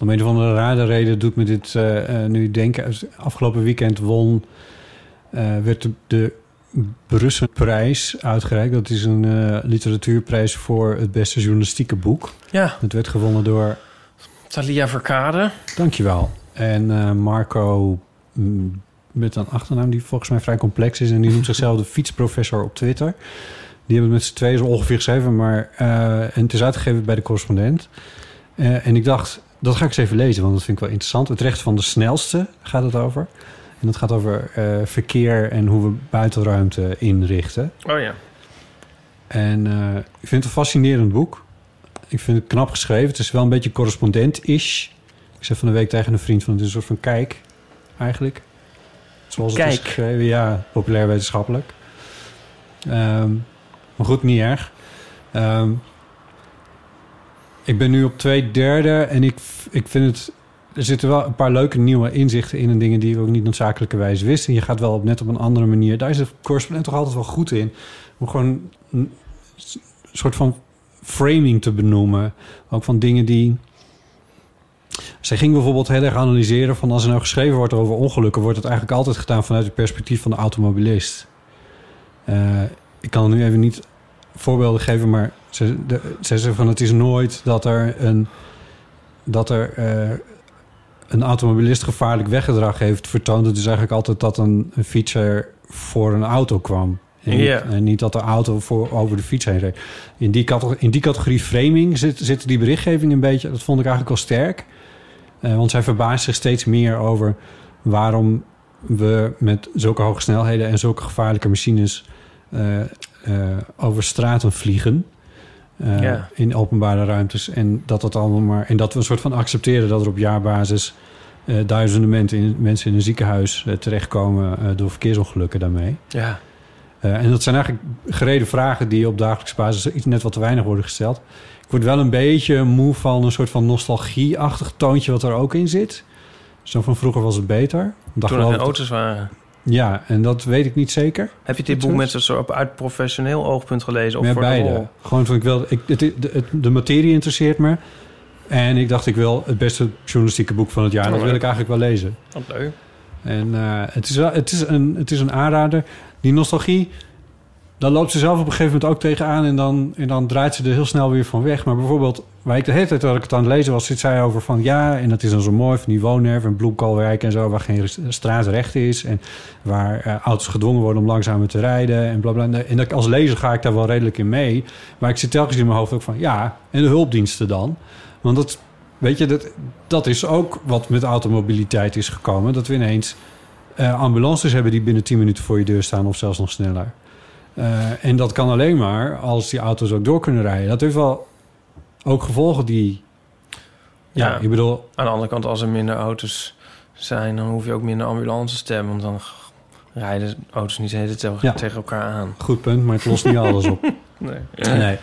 [SPEAKER 2] Om een of andere rare reden doet me dit eh, eh, nu denken. Afgelopen weekend won, eh, werd de, de Brusselprijs uitgereikt. Dat is een eh, literatuurprijs voor het beste journalistieke boek.
[SPEAKER 3] Ja.
[SPEAKER 2] Dat werd gewonnen door,
[SPEAKER 3] Thalia Verkade.
[SPEAKER 2] dankjewel, en eh, Marco mm, met een achternaam die volgens mij vrij complex is. En die noemt zichzelf de fietsprofessor op Twitter. Die hebben het met z'n tweeën zo ongeveer geschreven. Maar, eh, en het is uitgegeven bij de correspondent. Eh, en ik dacht, dat ga ik eens even lezen, want dat vind ik wel interessant. Het recht van de snelste gaat het over. En dat gaat over eh, verkeer en hoe we buitenruimte inrichten.
[SPEAKER 3] Oh ja.
[SPEAKER 2] En eh, ik vind het een fascinerend boek. Ik vind het knap geschreven. Het is wel een beetje correspondent-ish. Ik zei van de week tegen een vriend van... het is een soort van kijk, eigenlijk. Zoals het is
[SPEAKER 3] Kijk.
[SPEAKER 2] geschreven. Ja, populair wetenschappelijk. Ehm, maar goed, niet erg. Ehm, Ik ben nu op twee derde en ik, ik vind het... Er zitten wel een paar leuke nieuwe inzichten in en dingen die we ook niet noodzakelijkerwijs wisten. Je gaat wel op, net op een andere manier. Daar is de correspondent toch altijd wel goed in. Om gewoon een soort van framing te benoemen. Ook van dingen die... Zij ging bijvoorbeeld heel erg analyseren van als er nou geschreven wordt over ongelukken, wordt het eigenlijk altijd gedaan vanuit het perspectief van de automobilist. Eh, ik kan nu even niet voorbeelden geven, maar ze, de, ze zei van het is nooit dat er een dat er eh, een automobilist gevaarlijk weggedrag heeft vertoond. Het is eigenlijk altijd dat een, een fietser voor een auto kwam. En niet,
[SPEAKER 3] Ja.
[SPEAKER 2] en niet dat de auto voor, over de fiets heen reed. In die, cate- in die categorie framing zit, zit die berichtgeving een beetje... dat vond ik eigenlijk wel sterk. Eh, want zij verbaast zich steeds meer over waarom we met zulke hoge snelheden en zulke gevaarlijke machines eh, eh, over straten vliegen. Eh,
[SPEAKER 3] Ja.
[SPEAKER 2] In openbare ruimtes. En dat, dat, allemaal maar, en dat we een soort van accepteren dat er op jaarbasis eh, duizenden mensen in, mensen in een ziekenhuis eh, terechtkomen eh, door verkeersongelukken daarmee.
[SPEAKER 3] Ja.
[SPEAKER 2] Eh, en dat zijn eigenlijk gereden vragen die op dagelijkse basis iets net wat te weinig worden gesteld. Ik word wel een beetje moe van een soort van nostalgie-achtig toontje wat er ook in zit. Zo van vroeger was het beter. Want dan
[SPEAKER 3] Toen er
[SPEAKER 2] geloof
[SPEAKER 3] geen
[SPEAKER 2] ik-
[SPEAKER 3] auto's waren.
[SPEAKER 2] Ja, en dat weet ik niet zeker.
[SPEAKER 3] Heb je dit boek met een soort uit professioneel oogpunt gelezen? Of
[SPEAKER 2] Meer
[SPEAKER 3] voor de
[SPEAKER 2] beide.
[SPEAKER 3] rol?
[SPEAKER 2] Gewoon van ik wil, ik, het, de, het- de materie interesseert me. En ik dacht, ik wil het beste journalistieke boek van het jaar.
[SPEAKER 3] Oh,
[SPEAKER 2] Dat wil
[SPEAKER 3] leuk.
[SPEAKER 2] ik eigenlijk wel lezen.
[SPEAKER 3] Wat leuk.
[SPEAKER 2] En eh, het, is wel, het, is een, het is een aanrader. Die nostalgie, daar loopt ze zelf op een gegeven moment ook tegenaan. En dan, en dan draait ze er heel snel weer van weg. Maar bijvoorbeeld, waar ik de hele tijd dat ik het aan het lezen was, zit zij over van ja. En dat is dan zo mooi van die woonerf en bloemkoolwijk en zo. Waar geen res- straat recht is. En waar eh, auto's gedwongen worden om langzamer te rijden. En bla bla. En dat, als lezer ga ik daar wel redelijk in mee. Maar ik zit telkens in mijn hoofd ook van ja. En de hulpdiensten dan. Want dat, weet je, dat, dat is ook wat met automobiliteit is gekomen. Dat we ineens eh, ambulances hebben die binnen 10 minuten voor je deur staan of zelfs nog sneller. Eh, en dat kan alleen maar als die auto's ook door kunnen rijden. Dat heeft wel ook gevolgen die. Ja, ik bedoel.
[SPEAKER 3] Aan de andere kant, als er minder auto's zijn, dan hoef je ook minder ambulances te hebben. Want dan g- rijden auto's niet de hele tijd
[SPEAKER 2] Ja.
[SPEAKER 3] tegen elkaar aan.
[SPEAKER 2] Goed punt, maar het lost niet alles op.
[SPEAKER 3] Nee.
[SPEAKER 2] nee.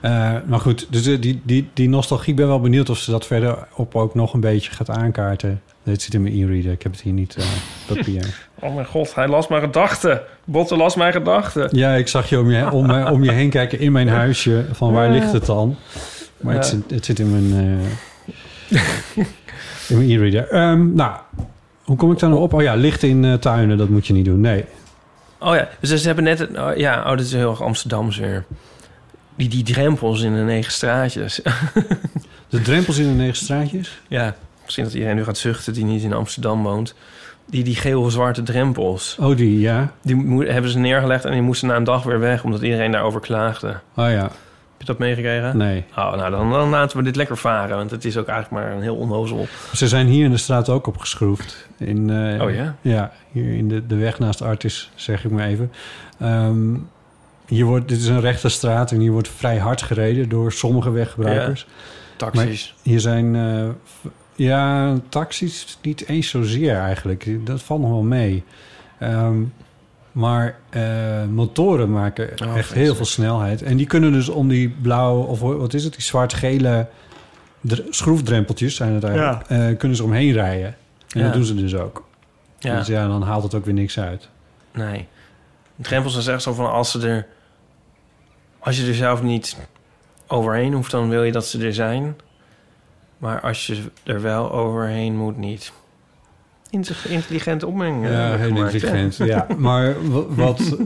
[SPEAKER 2] Eh, maar goed, dus eh, die, die, die nostalgie, ik ben wel benieuwd of ze dat verder op ook nog een beetje gaat aankaarten. Dit zit in mijn e-reader, ik heb het hier niet eh, papier.
[SPEAKER 3] Oh mijn god, hij las mijn gedachten. Botte las mijn gedachten.
[SPEAKER 2] Ja, ik zag je om je, om, eh, om je heen kijken in mijn huisje, van waar ligt het dan? Maar het,
[SPEAKER 3] Ja.
[SPEAKER 2] zit, het zit in mijn, eh, in mijn e-reader. Ehm, nou, hoe kom ik daar nou op? Oh ja, licht in eh, tuinen, dat moet je niet doen. Nee,
[SPEAKER 3] Oh ja, dus ze hebben net... Een, oh ja, oh, dit is heel erg Amsterdams weer. Die, die drempels in de negen straatjes.
[SPEAKER 2] de drempels in de negen straatjes?
[SPEAKER 3] ja, misschien dat iedereen nu gaat zuchten die niet in Amsterdam woont. Die, die geel-zwarte drempels.
[SPEAKER 2] Oh, die, ja.
[SPEAKER 3] Die moe- hebben ze neergelegd en die moesten na een dag weer weg... omdat iedereen daarover klaagde. Heb
[SPEAKER 2] Oh ja,
[SPEAKER 3] je dat meegekregen?
[SPEAKER 2] nee.
[SPEAKER 3] Oh, nou, dan, dan laten we dit lekker varen. Want het is ook eigenlijk maar een heel onnozel...
[SPEAKER 2] Ze zijn hier in de straat ook opgeschroefd. In, eh,
[SPEAKER 3] Oh ja?
[SPEAKER 2] Ja, hier in de, de weg naast Artis, zeg ik maar even. Ehm, hier wordt, dit is een rechte straat en hier wordt vrij hard gereden door sommige weggebruikers.
[SPEAKER 3] Ja, taxis.
[SPEAKER 2] Maar hier zijn, eh, v- ja, taxis niet eens zozeer eigenlijk. Dat valt nog wel mee. Ehm, maar eh, motoren
[SPEAKER 3] Oh,
[SPEAKER 2] maken echt heel veel snelheid. En die kunnen dus om die blauw, of wat is het, die zwart-gele dr- schroefdrempeltjes zijn het eigenlijk, eh, kunnen ze omheen rijden. En
[SPEAKER 3] Ja.
[SPEAKER 2] dat doen ze dus ook.
[SPEAKER 3] Ja.
[SPEAKER 2] Dus ja, dan haalt het ook weer niks uit.
[SPEAKER 3] Nee. Drempels is echt zo van als ze er... Als je er zelf niet overheen hoeft, dan wil je dat ze er zijn. Maar als je er wel overheen moet, niet. Inter- Intelligente opmerking.
[SPEAKER 2] Ja,
[SPEAKER 3] eh, heb ik
[SPEAKER 2] heel
[SPEAKER 3] gemaakt, hè?
[SPEAKER 2] intelligent. Ja. Maar wa- wat,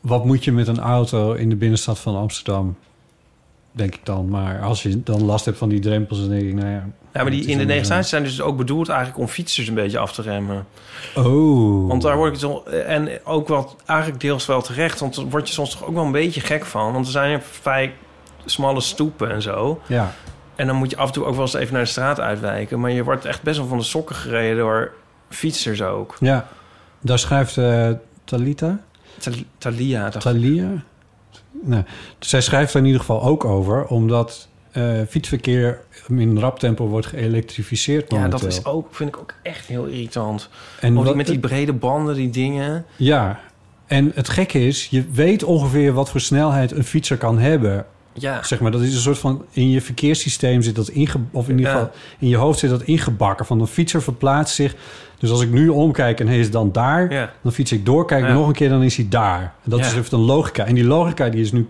[SPEAKER 2] wat moet je met een auto in de binnenstad van Amsterdam? Denk ik dan. Maar als je dan last hebt van die drempels, dan denk ik, nou ja...
[SPEAKER 3] Ja, maar
[SPEAKER 2] het
[SPEAKER 3] die in
[SPEAKER 2] is
[SPEAKER 3] de
[SPEAKER 2] allemaal zo.
[SPEAKER 3] negenstaties zijn dus ook bedoeld eigenlijk om fietsers een beetje af te remmen.
[SPEAKER 2] Oh.
[SPEAKER 3] Want daar word ik zo... En ook wel eigenlijk deels wel terecht. Want daar word je soms toch ook wel een beetje gek van. Want er zijn er vrij smalle stoepen en zo.
[SPEAKER 2] Ja.
[SPEAKER 3] En dan moet je af en toe ook wel eens even naar de straat uitwijken. Maar je wordt echt best wel van de sokken gereden door fietsers ook.
[SPEAKER 2] Ja, daar schrijft eh Talita.
[SPEAKER 3] Tal- Talia. dacht ik.
[SPEAKER 2] Talia? Nou, zij schrijft er in ieder geval ook over, omdat eh, fietsverkeer in rap tempo wordt geëlektrificeerd.
[SPEAKER 3] Ja, dat
[SPEAKER 2] momenteel.
[SPEAKER 3] is ook, vind ik ook echt heel irritant.
[SPEAKER 2] En
[SPEAKER 3] En
[SPEAKER 2] wat-
[SPEAKER 3] met die brede banden, die dingen.
[SPEAKER 2] Ja, en het gekke is, je weet ongeveer wat voor snelheid een fietser kan hebben
[SPEAKER 3] Ja.
[SPEAKER 2] Zeg maar, dat is een soort van... In je verkeerssysteem zit dat ingebakken... Of in
[SPEAKER 3] Ja.
[SPEAKER 2] ieder geval in je hoofd zit dat ingebakken. Van een fietser verplaatst zich... Dus als ik nu omkijk en hij is dan daar...
[SPEAKER 3] Ja.
[SPEAKER 2] Dan fiets ik door, kijk
[SPEAKER 3] Ja.
[SPEAKER 2] nog een keer, dan is hij daar. En dat
[SPEAKER 3] Ja.
[SPEAKER 2] is heeft een logica. En die logica die is nu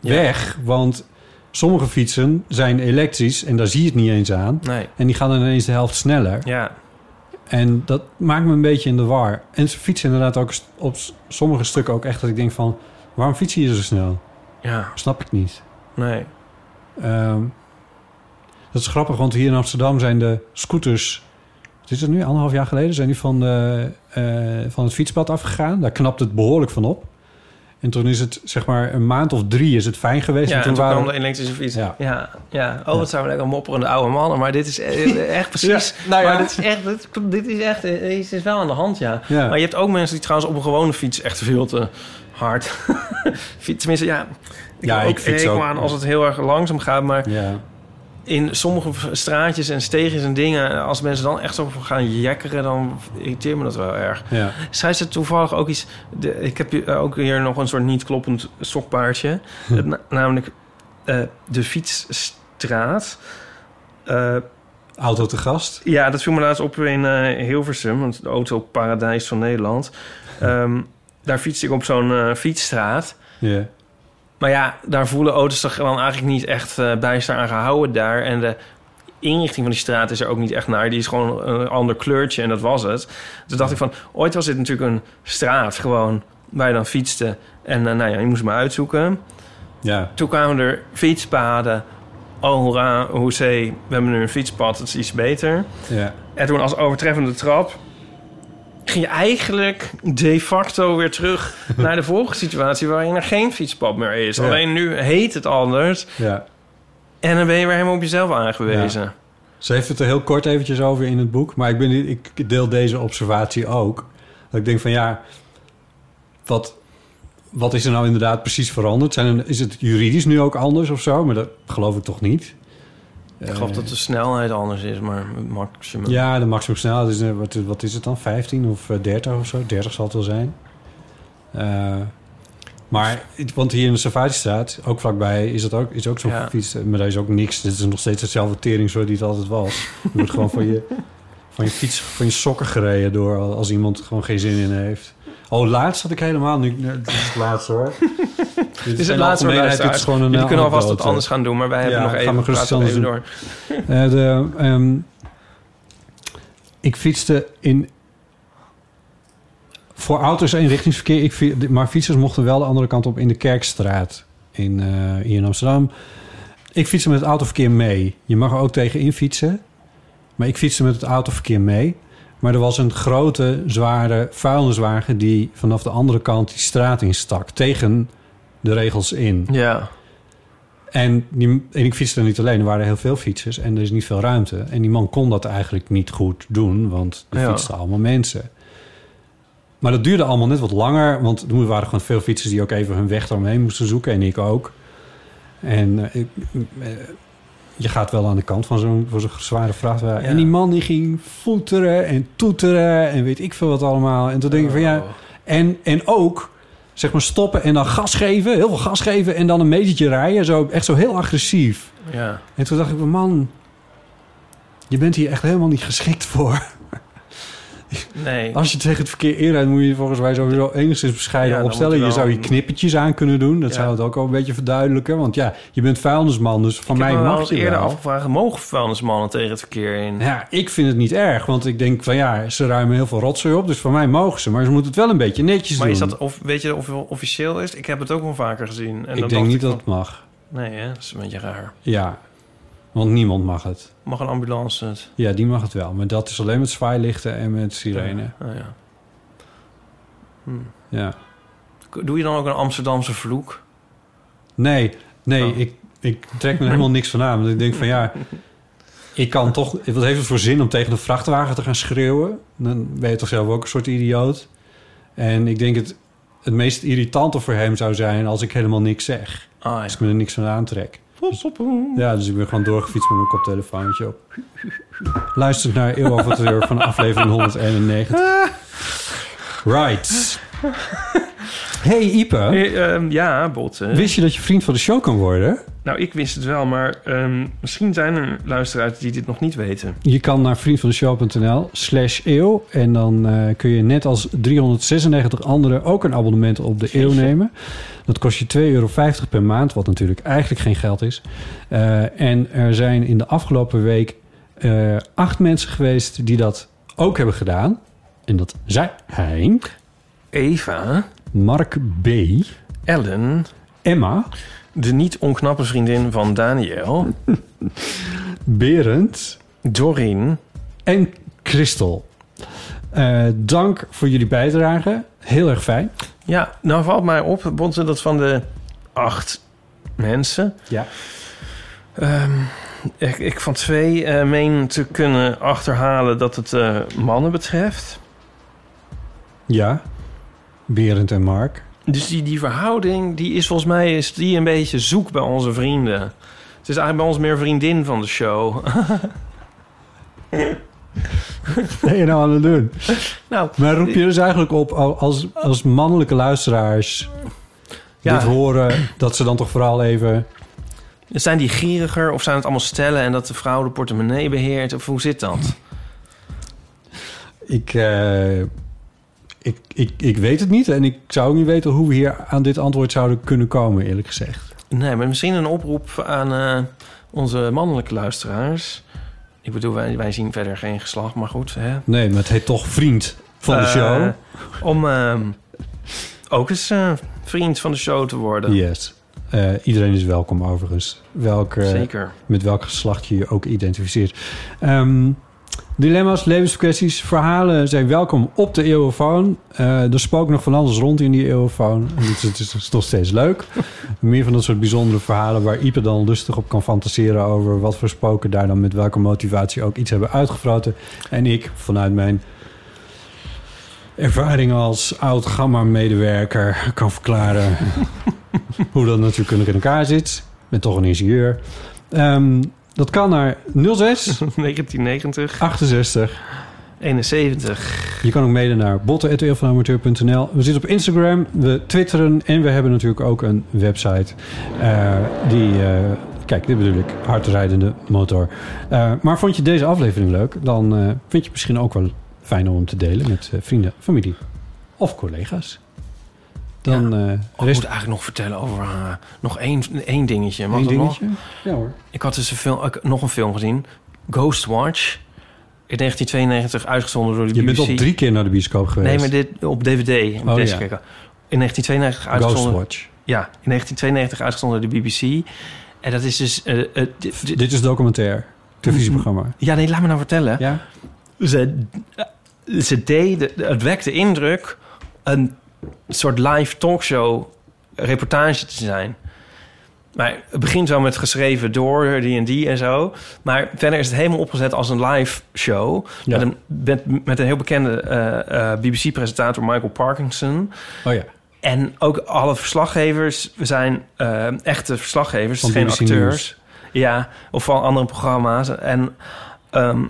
[SPEAKER 2] weg. Want sommige fietsen zijn elektrisch... en daar zie je het niet eens aan.
[SPEAKER 3] Nee.
[SPEAKER 2] En die gaan dan ineens de helft sneller.
[SPEAKER 3] Ja.
[SPEAKER 2] En dat maakt me een beetje in de war. En ze fietsen inderdaad ook st- op s- sommige stukken ook echt dat ik denk van... waarom fietsen je zo snel?
[SPEAKER 3] Ja.
[SPEAKER 2] Snap ik niet.
[SPEAKER 3] Nee.
[SPEAKER 2] Ehm, dat is grappig, want hier in Amsterdam zijn de scooters... Wat is het nu? Anderhalf jaar geleden zijn die van, de, eh, van het fietspad afgegaan. Daar knapt het behoorlijk van op. En toen is het, zeg maar, een maand of drie is het fijn geweest.
[SPEAKER 3] Ja,
[SPEAKER 2] en
[SPEAKER 3] en toen
[SPEAKER 2] waren-
[SPEAKER 3] kwam de elektrische fiets. Ja, ja. Oh, wat zijn we lekker mopperende oude mannen. Maar dit is e- echt precies...
[SPEAKER 2] Ja, nou ja.
[SPEAKER 3] Maar dit is echt... Dit, dit is echt... Dit is wel aan de hand, ja.
[SPEAKER 2] Ja.
[SPEAKER 3] Maar je hebt ook mensen die trouwens op een gewone fiets echt veel te hard... fietsen. Tenminste, ja...
[SPEAKER 2] Ja,
[SPEAKER 3] heb
[SPEAKER 2] ik fiets
[SPEAKER 3] hekel
[SPEAKER 2] ook.
[SPEAKER 3] aan als het heel erg langzaam gaat, maar...
[SPEAKER 2] Ja.
[SPEAKER 3] In sommige straatjes en steegjes en dingen... als mensen dan echt zo gaan jekkeren... dan irriteert me dat wel erg.
[SPEAKER 2] Ja.
[SPEAKER 3] Zij ze toevallig ook iets... de- ik heb hier eh, ook hier nog een soort niet kloppend sokpaardje.
[SPEAKER 2] Hm.
[SPEAKER 3] Het na- namelijk eh, de fietsstraat. Eh,
[SPEAKER 2] Auto te gast?
[SPEAKER 3] ja, dat viel me laatst op in eh, Hilversum. Want het autoparadijs van Nederland. Ehm, daar fietste ik op zo'n eh, fietsstraat.
[SPEAKER 2] Ja.
[SPEAKER 3] Maar ja, daar voelen auto's zich dan eigenlijk niet echt eh, bijster aan gehouden daar. En de inrichting van die straat is er ook niet echt naar. Die is gewoon een ander kleurtje en dat was het. Toen dacht ik van, ooit was dit natuurlijk een straat gewoon waar je dan fietste. En eh, nou ja, je moest maar uitzoeken.
[SPEAKER 2] Ja.
[SPEAKER 3] Toen kwamen er fietspaden. Oh, hoera, hoezee, we hebben nu een fietspad, dat is iets beter.
[SPEAKER 2] Ja.
[SPEAKER 3] En toen als overtreffende trap ging je eigenlijk de facto weer terug naar de vorige situatie waarin er geen fietspad meer is.
[SPEAKER 2] Ja.
[SPEAKER 3] Alleen nu heet het anders
[SPEAKER 2] ja.
[SPEAKER 3] en dan ben je weer helemaal op jezelf aangewezen.
[SPEAKER 2] Ja. Ze heeft het er heel kort eventjes over in het boek. Maar ik, ben, ik deel deze observatie ook. Dat ik denk van ja, wat, wat is er nou inderdaad precies veranderd? Zijn er- is het juridisch nu ook anders of zo? Maar dat geloof ik toch niet.
[SPEAKER 3] Ik geloof dat de snelheid anders is, maar het maximum.
[SPEAKER 2] Ja, de maximum snelheid is, eh, wat, wat is het dan? 15 of eh, 30 of zo? 30 zal het wel zijn. Eh, maar, want hier in de Savagestraat, ook vlakbij, is dat ook, is ook zo'n
[SPEAKER 3] Ja.
[SPEAKER 2] fiets. eh, Maar daar is ook niks. Dit is nog steeds hetzelfde teringzooi die het altijd was. Je wordt gewoon van je, van je fiets, van je sokken gereden door als iemand gewoon geen zin in heeft. Oh, laatst had ik helemaal nu. nee, Dit is het laatste hoor.
[SPEAKER 3] Dit is het laatste
[SPEAKER 2] algemeenheid,
[SPEAKER 3] luisteraars.
[SPEAKER 2] dit is gewoon een,
[SPEAKER 3] Jullie
[SPEAKER 2] eh,
[SPEAKER 3] kunnen alvast wat
[SPEAKER 2] anekdote.
[SPEAKER 3] anders gaan doen, maar wij hebben
[SPEAKER 2] Ja,
[SPEAKER 3] nog
[SPEAKER 2] ga
[SPEAKER 3] even,
[SPEAKER 2] maar gerust
[SPEAKER 3] praten we even
[SPEAKER 2] iets
[SPEAKER 3] door.
[SPEAKER 2] anders doen. Eh, de, ehm, ik fietste in... Voor auto's eenrichtingsverkeer, ik, fi- maar fietsers mochten wel de andere kant op in de Kerkstraat in, eh, hier in Amsterdam. Ik fietste met het autoverkeer mee. Je mag er ook tegenin fietsen. Maar ik fietste met het autoverkeer mee. Maar er was een grote, zware vuilniswagen... die vanaf de andere kant die straat instak. Tegen de regels in.
[SPEAKER 3] Ja.
[SPEAKER 2] En, die, en ik fietste er niet alleen. Er waren heel veel fietsers en er is niet veel ruimte. En die man kon dat eigenlijk niet goed doen... want er
[SPEAKER 3] Ja.
[SPEAKER 2] fietsten allemaal mensen. Maar dat duurde allemaal net wat langer... want er waren gewoon veel fietsers die ook even hun weg eromheen moesten zoeken. En ik ook. En eh, ik- eh, je gaat wel aan de kant van zo'n voor zo'n zware vrachtwagen.
[SPEAKER 3] Ja.
[SPEAKER 2] En die man die ging voeteren en toeteren en weet ik veel wat allemaal. En toen denk ik van ja... En, en ook, zeg maar, stoppen en dan gas geven. Heel veel gas geven en dan een metertje rijden. Zo, echt zo heel agressief.
[SPEAKER 3] Ja.
[SPEAKER 2] En toen dacht ik van man... Je bent hier echt helemaal niet geschikt voor.
[SPEAKER 3] Nee.
[SPEAKER 2] Als je tegen het verkeer inrijdt... moet je je volgens mij sowieso enigszins bescheiden
[SPEAKER 3] Ja, dan
[SPEAKER 2] opstellen.
[SPEAKER 3] moet
[SPEAKER 2] Je
[SPEAKER 3] je wel
[SPEAKER 2] zou je
[SPEAKER 3] een-
[SPEAKER 2] knippertjes aan kunnen doen. Dat
[SPEAKER 3] Ja.
[SPEAKER 2] zou het ook al een beetje verduidelijken. Want ja, je bent vuilnisman, dus van
[SPEAKER 3] Ik
[SPEAKER 2] mij
[SPEAKER 3] heb me wel
[SPEAKER 2] mag
[SPEAKER 3] eens
[SPEAKER 2] je
[SPEAKER 3] eerder
[SPEAKER 2] wel.
[SPEAKER 3] afgevraagd, mogen vuilnismannen tegen het verkeer in?
[SPEAKER 2] Ja, ik vind het niet erg, want ik denk van ja, ze ruimen heel veel rotzooi op, dus voor mij mogen ze, maar ze moeten het wel een beetje netjes
[SPEAKER 3] Maar
[SPEAKER 2] doen.
[SPEAKER 3] is dat, of, weet je of het officieel is? Ik heb het ook wel vaker gezien. En
[SPEAKER 2] ik
[SPEAKER 3] dan dacht
[SPEAKER 2] denk niet dat
[SPEAKER 3] van-
[SPEAKER 2] het mag.
[SPEAKER 3] Nee, hè? dat is een beetje raar.
[SPEAKER 2] Ja, want niemand mag het.
[SPEAKER 3] Mag een ambulance het?
[SPEAKER 2] Ja, die mag het wel, maar dat is alleen met zwaailichten en met sirene.
[SPEAKER 3] Ja. Ah, ja. Hm.
[SPEAKER 2] Ja.
[SPEAKER 3] Doe je dan ook een Amsterdamse vloek?
[SPEAKER 2] Nee, nee, ik, ik trek me er helemaal niks van aan. Want ik denk van ja, ik kan toch... Wat heeft het voor zin om tegen een vrachtwagen te gaan schreeuwen? Dan ben je toch zelf ook een soort idioot. En ik denk het, het meest irritante voor hem zou zijn als ik helemaal niks zeg.
[SPEAKER 3] Als
[SPEAKER 2] ik me er niks van aantrek.
[SPEAKER 3] Pop, pop, pop.
[SPEAKER 2] Ja, dus ik ben gewoon doorgefietst met mijn koptelefoontje op. Luister naar Eeuw over het Uur van aflevering 191. Right. hey, Ipe.
[SPEAKER 3] Eh, ehm, ja, Botte.
[SPEAKER 2] Wist je dat je vriend van de show kan worden?
[SPEAKER 3] Nou, ik wist het wel, maar ehm, misschien zijn er luisteraars die dit nog niet weten.
[SPEAKER 2] Je kan naar vriendvandeshow.nl slash eeuw. En dan eh, kun je net als 396 anderen ook een abonnement op de eeuw nemen. Dat kost je 2,50 euro per maand, wat natuurlijk eigenlijk geen geld is. Eh, en er zijn in de afgelopen week eh, acht mensen geweest die dat ook hebben gedaan. En dat zijn Hein,
[SPEAKER 3] Eva,
[SPEAKER 2] Mark B,
[SPEAKER 3] Ellen,
[SPEAKER 2] Emma,
[SPEAKER 3] de niet onknappe vriendin van Daniel,
[SPEAKER 2] Berend,
[SPEAKER 3] Dorien
[SPEAKER 2] en Christel. Eh, dank voor jullie bijdrage. Heel erg fijn.
[SPEAKER 3] Ja, nou valt mij op, Bonte, dat van de acht mensen...
[SPEAKER 2] Ja.
[SPEAKER 3] ehm, ik, ik van twee eh, meen te kunnen achterhalen dat het eh, mannen betreft.
[SPEAKER 2] Ja, Berend en Mark.
[SPEAKER 3] Dus die, die verhouding, die is volgens mij is die een beetje zoek bij onze vrienden. Het is eigenlijk bij ons meer vriendin van de show.
[SPEAKER 2] Wat ben je nou aan het doen?
[SPEAKER 3] Nou,
[SPEAKER 2] maar roep je dus eigenlijk op als, als mannelijke luisteraars
[SPEAKER 3] Ja.
[SPEAKER 2] dit horen... dat ze dan toch vooral even...
[SPEAKER 3] zijn die gieriger of zijn het allemaal stellen en dat de vrouw de portemonnee beheert? Of hoe zit dat?
[SPEAKER 2] Ik, eh, ik, ik, ik weet het niet en ik zou ook niet weten... hoe we hier aan dit antwoord zouden kunnen komen, eerlijk gezegd.
[SPEAKER 3] Nee, maar misschien een oproep aan eh, onze mannelijke luisteraars. Ik bedoel, wij, wij zien verder geen geslacht, maar goed. Hè?
[SPEAKER 2] Nee, maar het heet toch vriend van de
[SPEAKER 3] Eh,
[SPEAKER 2] show.
[SPEAKER 3] Om ehm, ook eens eh, vriend van de show te worden.
[SPEAKER 2] Yes. Eh, iedereen is welkom overigens. Welk, eh,
[SPEAKER 3] Zeker.
[SPEAKER 2] Met welk geslacht je je ook identificeert. Ehm, dilemma's, levenskwesties, verhalen zijn welkom op de Eeuwofoon. Eh er spookt nog van alles rond in die Eeuwofoon. Het is, het is- het is nog steeds leuk. Meer van dat soort bijzondere verhalen waar Ipe dan lustig op kan fantaseren over wat voor spoken daar dan met welke motivatie ook iets hebben uitgefroten. En ik vanuit mijn ervaring als oud gamma-medewerker kan verklaren hoe dat natuurlijk in elkaar zit. Met toch een ingenieur. Ehm, dat kan naar 06
[SPEAKER 3] 1990,
[SPEAKER 2] 68.
[SPEAKER 3] 71.
[SPEAKER 2] Je kan ook mede naar botten.eeuwvanamateur.nl. We zitten op Instagram, we twitteren en we hebben natuurlijk ook een website. eh, die, eh, kijk, dit bedoel ik, hardrijdende motor. Eh, maar vond je deze aflevering leuk? Dan eh, vind je het misschien ook wel fijn om hem te delen met eh, vrienden, familie of collega's. Dan eh,
[SPEAKER 3] Oh, ik moet eigenlijk nog vertellen over eh, nog één, één dingetje. Mag
[SPEAKER 2] Eén
[SPEAKER 3] dat
[SPEAKER 2] dingetje?
[SPEAKER 3] nog?
[SPEAKER 2] Ja hoor.
[SPEAKER 3] Ik had dus een film, ik- nog een film gezien. Ghostwatch. In 1992 uitgezonden door de
[SPEAKER 2] je
[SPEAKER 3] BBC.
[SPEAKER 2] bent al drie keer naar de bioscoop geweest.
[SPEAKER 3] Nee, maar dit op DVD.
[SPEAKER 2] Oh,
[SPEAKER 3] Oh, deze
[SPEAKER 2] ja.
[SPEAKER 3] kijken. In 1992 uitgezonden.
[SPEAKER 2] Ghostwatch.
[SPEAKER 3] Ja, in 1992 uitgezonden door de BBC. En dat is dus... eh, eh, dit,
[SPEAKER 2] Dit is documentair. Televisieprogramma.
[SPEAKER 3] Ja, nee, laat me nou vertellen.
[SPEAKER 2] Ja?
[SPEAKER 3] Ze, ze deden, het wekte indruk een soort live talkshow reportage te zijn. Maar het begint wel met geschreven door die en die en zo. Maar verder is het helemaal opgezet als een live show.
[SPEAKER 2] Ja.
[SPEAKER 3] Met, een, met, met een heel bekende eh, BBC-presentator Michael Parkinson.
[SPEAKER 2] Oh ja.
[SPEAKER 3] En ook alle verslaggevers zijn eh, echte verslaggevers, dus
[SPEAKER 2] Van
[SPEAKER 3] geen
[SPEAKER 2] BBC
[SPEAKER 3] acteurs.
[SPEAKER 2] News.
[SPEAKER 3] Ja, of van andere programma's. En ehm,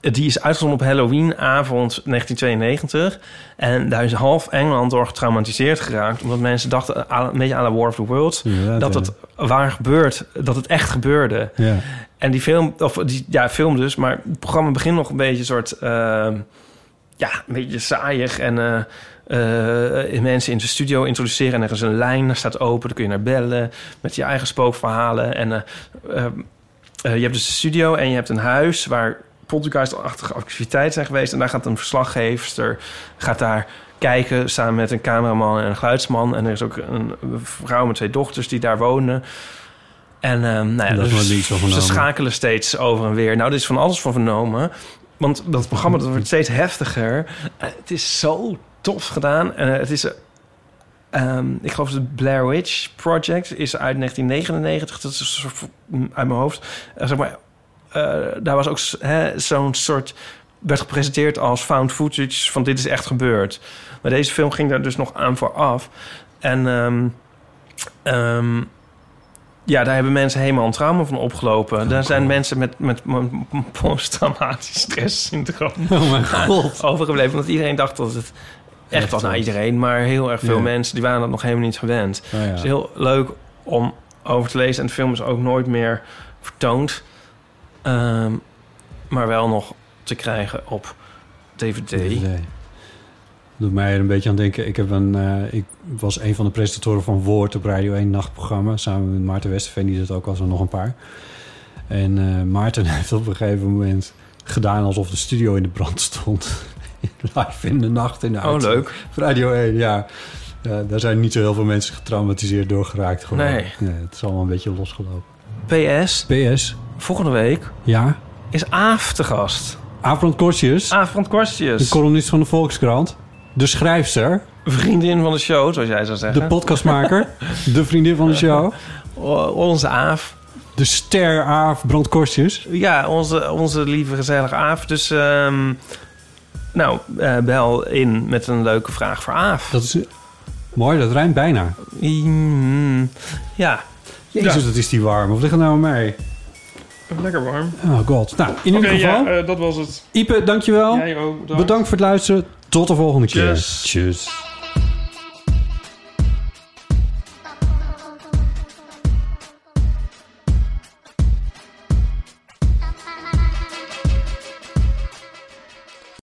[SPEAKER 3] die is uitgezonden op Halloweenavond 1992. En daar is half Engeland door getraumatiseerd geraakt. Omdat mensen dachten, à- een beetje aan de War of the Worlds... dat
[SPEAKER 2] ja.
[SPEAKER 3] het waar gebeurt, dat het echt gebeurde.
[SPEAKER 2] Ja.
[SPEAKER 3] En die film, of die, ja, film dus, maar het programma begint nog een beetje een soort, ehm, ja, een beetje saaiig. En eh, eh, mensen in de studio introduceren en er is een lijn, daar staat open, daar kun je naar bellen met je eigen spookverhalen. En eh, ehm, eh, je hebt dus een studio en je hebt een huis waar podcast-achtige activiteiten zijn geweest. En daar gaat een verslaggever gaat daar kijken samen met een cameraman en een geluidsman. En er is ook een vrouw met twee dochters die daar wonen. En ehm, nou ja,
[SPEAKER 2] Dat is
[SPEAKER 3] dus
[SPEAKER 2] nooit iets van
[SPEAKER 3] ze
[SPEAKER 2] vernomen.
[SPEAKER 3] schakelen steeds over en weer. Nou, dit is van alles van vernomen. Want dat programma dat wordt steeds heftiger. Eh, het is zo tof gedaan. En eh, het is... eh, ehm, ik geloof dat het Blair Witch Project is uit 1999. Dat is een soort- uit mijn hoofd. Eh, zeg maar, eh, daar was ook s- hè, zo'n soort... werd gepresenteerd als found footage van dit is echt gebeurd. Maar deze film ging daar dus nog aan vooraf. En... ehm, ehm, ja, daar hebben mensen helemaal een trauma van opgelopen.
[SPEAKER 2] Oh,
[SPEAKER 3] daar zijn mensen met, met, met posttraumatisch stresssyndroom
[SPEAKER 2] Oh mijn god.
[SPEAKER 3] overgebleven. Omdat iedereen dacht dat het Echt wel naar iedereen, maar heel erg veel
[SPEAKER 2] Ja.
[SPEAKER 3] mensen die waren dat nog helemaal niet gewend.
[SPEAKER 2] Oh ja.
[SPEAKER 3] Het is heel leuk om over te lezen. En de film is ook nooit meer vertoond. Ehm, maar wel nog te krijgen op DVD.
[SPEAKER 2] DVD. Doet mij er een beetje aan denken. Ik, heb een, eh, ik was een van de presentatoren van Woord op Radio 1 Nachtprogramma. Samen met Maarten Westerveen, die dat ook was, en nog een paar. En eh, Maarten heeft op een gegeven moment gedaan alsof de studio in de brand stond. Live in de nacht in de
[SPEAKER 3] Oh,
[SPEAKER 2] uitzending.
[SPEAKER 3] leuk.
[SPEAKER 2] Op Radio 1, ja. Ja, daar zijn niet zo heel veel mensen getraumatiseerd door geraakt. Gewoon.
[SPEAKER 3] Nee.
[SPEAKER 2] Het is allemaal een beetje losgelopen.
[SPEAKER 3] PS.
[SPEAKER 2] PS.
[SPEAKER 3] Volgende week
[SPEAKER 2] Ja.
[SPEAKER 3] is Aaf te gast.
[SPEAKER 2] Aafrand Kortjes.
[SPEAKER 3] Aaf van Kwastjes.
[SPEAKER 2] De columnist van de Volkskrant. De schrijfster.
[SPEAKER 3] Vriendin van de show, zoals jij zou zeggen.
[SPEAKER 2] De podcastmaker. de vriendin van de show.
[SPEAKER 3] O- Onze Aaf.
[SPEAKER 2] De ster Aaf Brandkorstjes.
[SPEAKER 3] Ja, onze, onze lieve gezellige Aaf. Dus ehm, nou, eh, bel in met een leuke vraag voor Aaf.
[SPEAKER 2] Dat is mooi, dat rijmt bijna.
[SPEAKER 3] Mm-hmm. ja.
[SPEAKER 2] Jezus, dat is die warm. Of ligt het nou aan mij?
[SPEAKER 3] Lekker warm.
[SPEAKER 2] Oh god. Nou, in ieder geval.
[SPEAKER 3] eh, dat was het.
[SPEAKER 2] Ipe, dankjewel.
[SPEAKER 3] Jij ook, bedankt.
[SPEAKER 2] bedankt. voor het luisteren. Tot de volgende keer.
[SPEAKER 3] Tjus.
[SPEAKER 2] Tjus.